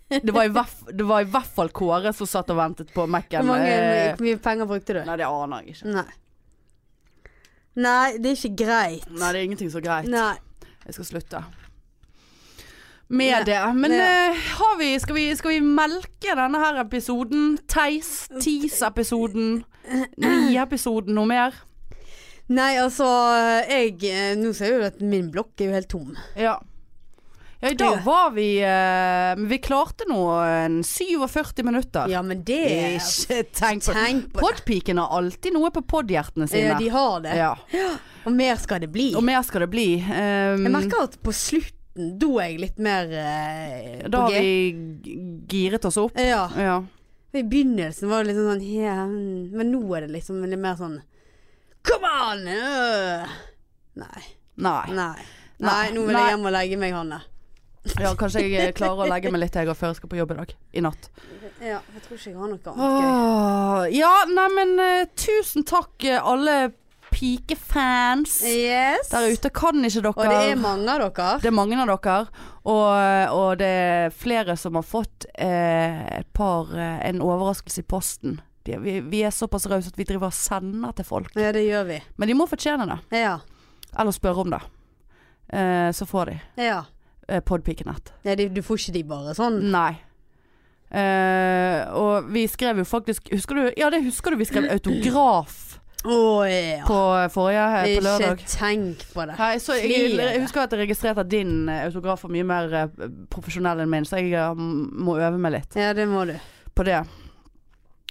S2: Det var i hvert, det var i hvert fall Kåre som satt og ventet på
S1: Hvor
S2: Mac-en.
S1: mange,
S2: Eh,
S1: hvor mye penger brukte du?
S2: nei, det aner jeg ikke.
S1: Nei. Nei, det er ikke greit.
S2: Nei, det er ingenting så greit.
S1: Nei.
S2: Jeg skal slutte. Med
S1: Ja.
S2: det. Men
S1: Ja.
S2: eh, har vi, skal, vi, skal vi melke denne her episoden? Theis, Tis-episoden, Ni-episoden, noe mer?
S1: Nei, altså jeg eh, Nå ser jeg jo at min blokk er jo helt tom.
S2: Ja. Ja, i dag
S1: Ja.
S2: var vi eh, Men vi klarte nå en 47 minutter.
S1: Ja, men det
S2: Ikke tenk på det.
S1: Tenk på det.
S2: Podpiken har alltid noe på podhjertene
S1: Eh,
S2: sine.
S1: De har det.
S2: Ja.
S1: Og mer skal det bli.
S2: Og mer skal det bli. Eh,
S1: Jeg merker at på slutten da er jeg litt mer eh,
S2: da
S1: på
S2: har
S1: G.
S2: vi g- giret oss opp.
S1: Ja.
S2: Ja.
S1: I begynnelsen var det liksom sånn ja, mm, Men nå er det liksom litt mer sånn Come on! øh!» Nei.
S2: Nei.
S1: Nei. Nei,
S2: Nei.
S1: nå vil
S2: Nei.
S1: jeg hjem og legge meg, Hanne.
S2: Ja, kanskje jeg eh, klarer å legge meg litt jeg og før jeg skal på jobb i dag. I natt.
S1: Ja, jeg tror ikke jeg har noe annet gøy.
S2: Åh, ja, neimen uh, tusen takk eh, alle pikefans
S1: Yes.
S2: der ute. Kan ikke dere
S1: Og det er mange av dere.
S2: Det er mange av dere. Og, eh, og det er flere som har fått eh, et par eh, en overraskelse i posten. De, vi, vi er såpass rause at vi driver og sender til folk.
S1: Ja, det gjør vi.
S2: Men de må fortjene det.
S1: Ja.
S2: Eller spørre om det. Eh, så får de
S1: ja.
S2: eh, podpikenett.
S1: Nei, de, du får ikke de bare sånn.
S2: Nei. Eh, og vi skrev jo faktisk Husker du? Ja, det husker du vi skrev autograf
S1: Å ja.
S2: Mm. på forrige eh, på
S1: Ikke
S2: lørdag.
S1: tenk på det.
S2: Nei, så jeg, jeg husker at jeg registrerte at din eh, autograf var mye mer eh, profesjonell enn min, så jeg eh, må øve meg litt
S1: Ja, det må du.
S2: på det.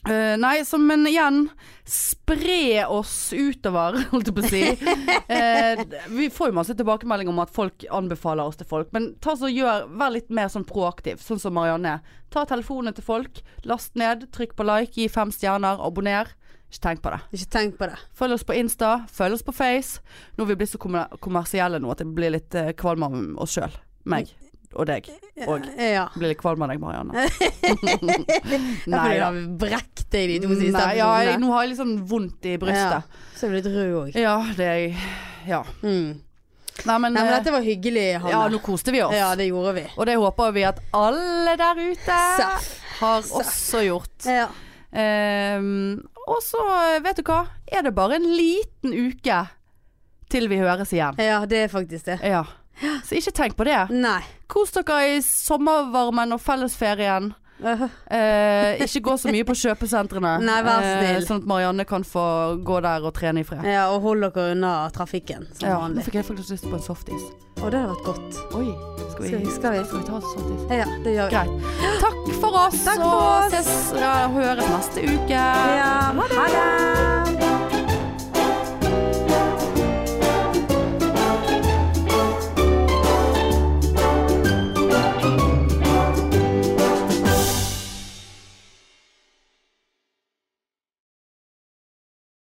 S2: Eh, nei, så men igjen Spre oss utover, holdt jeg på å si. Eh, vi får jo masse tilbakemelding om at folk anbefaler oss til folk, men ta så gjør, vær litt mer sånn proaktiv, sånn som Marianne. er. Ta telefonen til folk, last ned, trykk på like, gi fem stjerner, abonner. Ikke tenk på det.
S1: Ikke tenk på det.
S2: Følg oss på Insta, følg oss på Face. Nå er vi blitt så kommer- kommersielle nå at jeg blir litt eh, kvalm av oss sjøl. Meg og deg. Og
S1: Ja.
S2: blir litt kvalm av deg, Marianne.
S1: Nei,
S2: Nei da.
S1: har brekt deg de to siste
S2: Nei, ja, jeg,
S1: episodene.
S2: nå har jeg litt sånn vondt i brystet.
S1: Så er du litt rød òg.
S2: Ja, det er jeg. Ja.
S1: Mm.
S2: Nei, men,
S1: Nei, men
S2: eh,
S1: dette var hyggelig,
S2: ja,
S1: Hanne.
S2: nå koste vi oss.
S1: Ja, det gjorde vi.
S2: Og det håper vi at alle der ute
S1: Seff.
S2: har også gjort.
S1: Ja.
S2: Ehm, Og så, eh, vet du hva, er det bare en liten uke til vi høres igjen.
S1: Ja, det er faktisk det.
S2: Ja. Så ikke tenk på det.
S1: Nei.
S2: Kos dere i sommervarmen og fellesferien.
S1: Øh,
S2: Eh, ikke gå så mye på kjøpesentrene.
S1: Nei, vær snill.
S2: sånn at Marianne kan få gå der og trene i fred.
S1: Ja, og hold dere unna trafikken som
S2: Ja, nå
S1: vanlig.
S2: fikk jeg faktisk lyst på en softis.
S1: Å, det hadde vært godt.
S2: Oi, skal vi,
S1: Skal vi- skal vi?
S2: ta oss en softis?
S1: Ja, det gjør vi.
S2: Greit. Takk for oss,
S1: Takk for
S2: og
S1: oss.
S2: ses, ja, høres neste uke.
S1: Ja, ha det.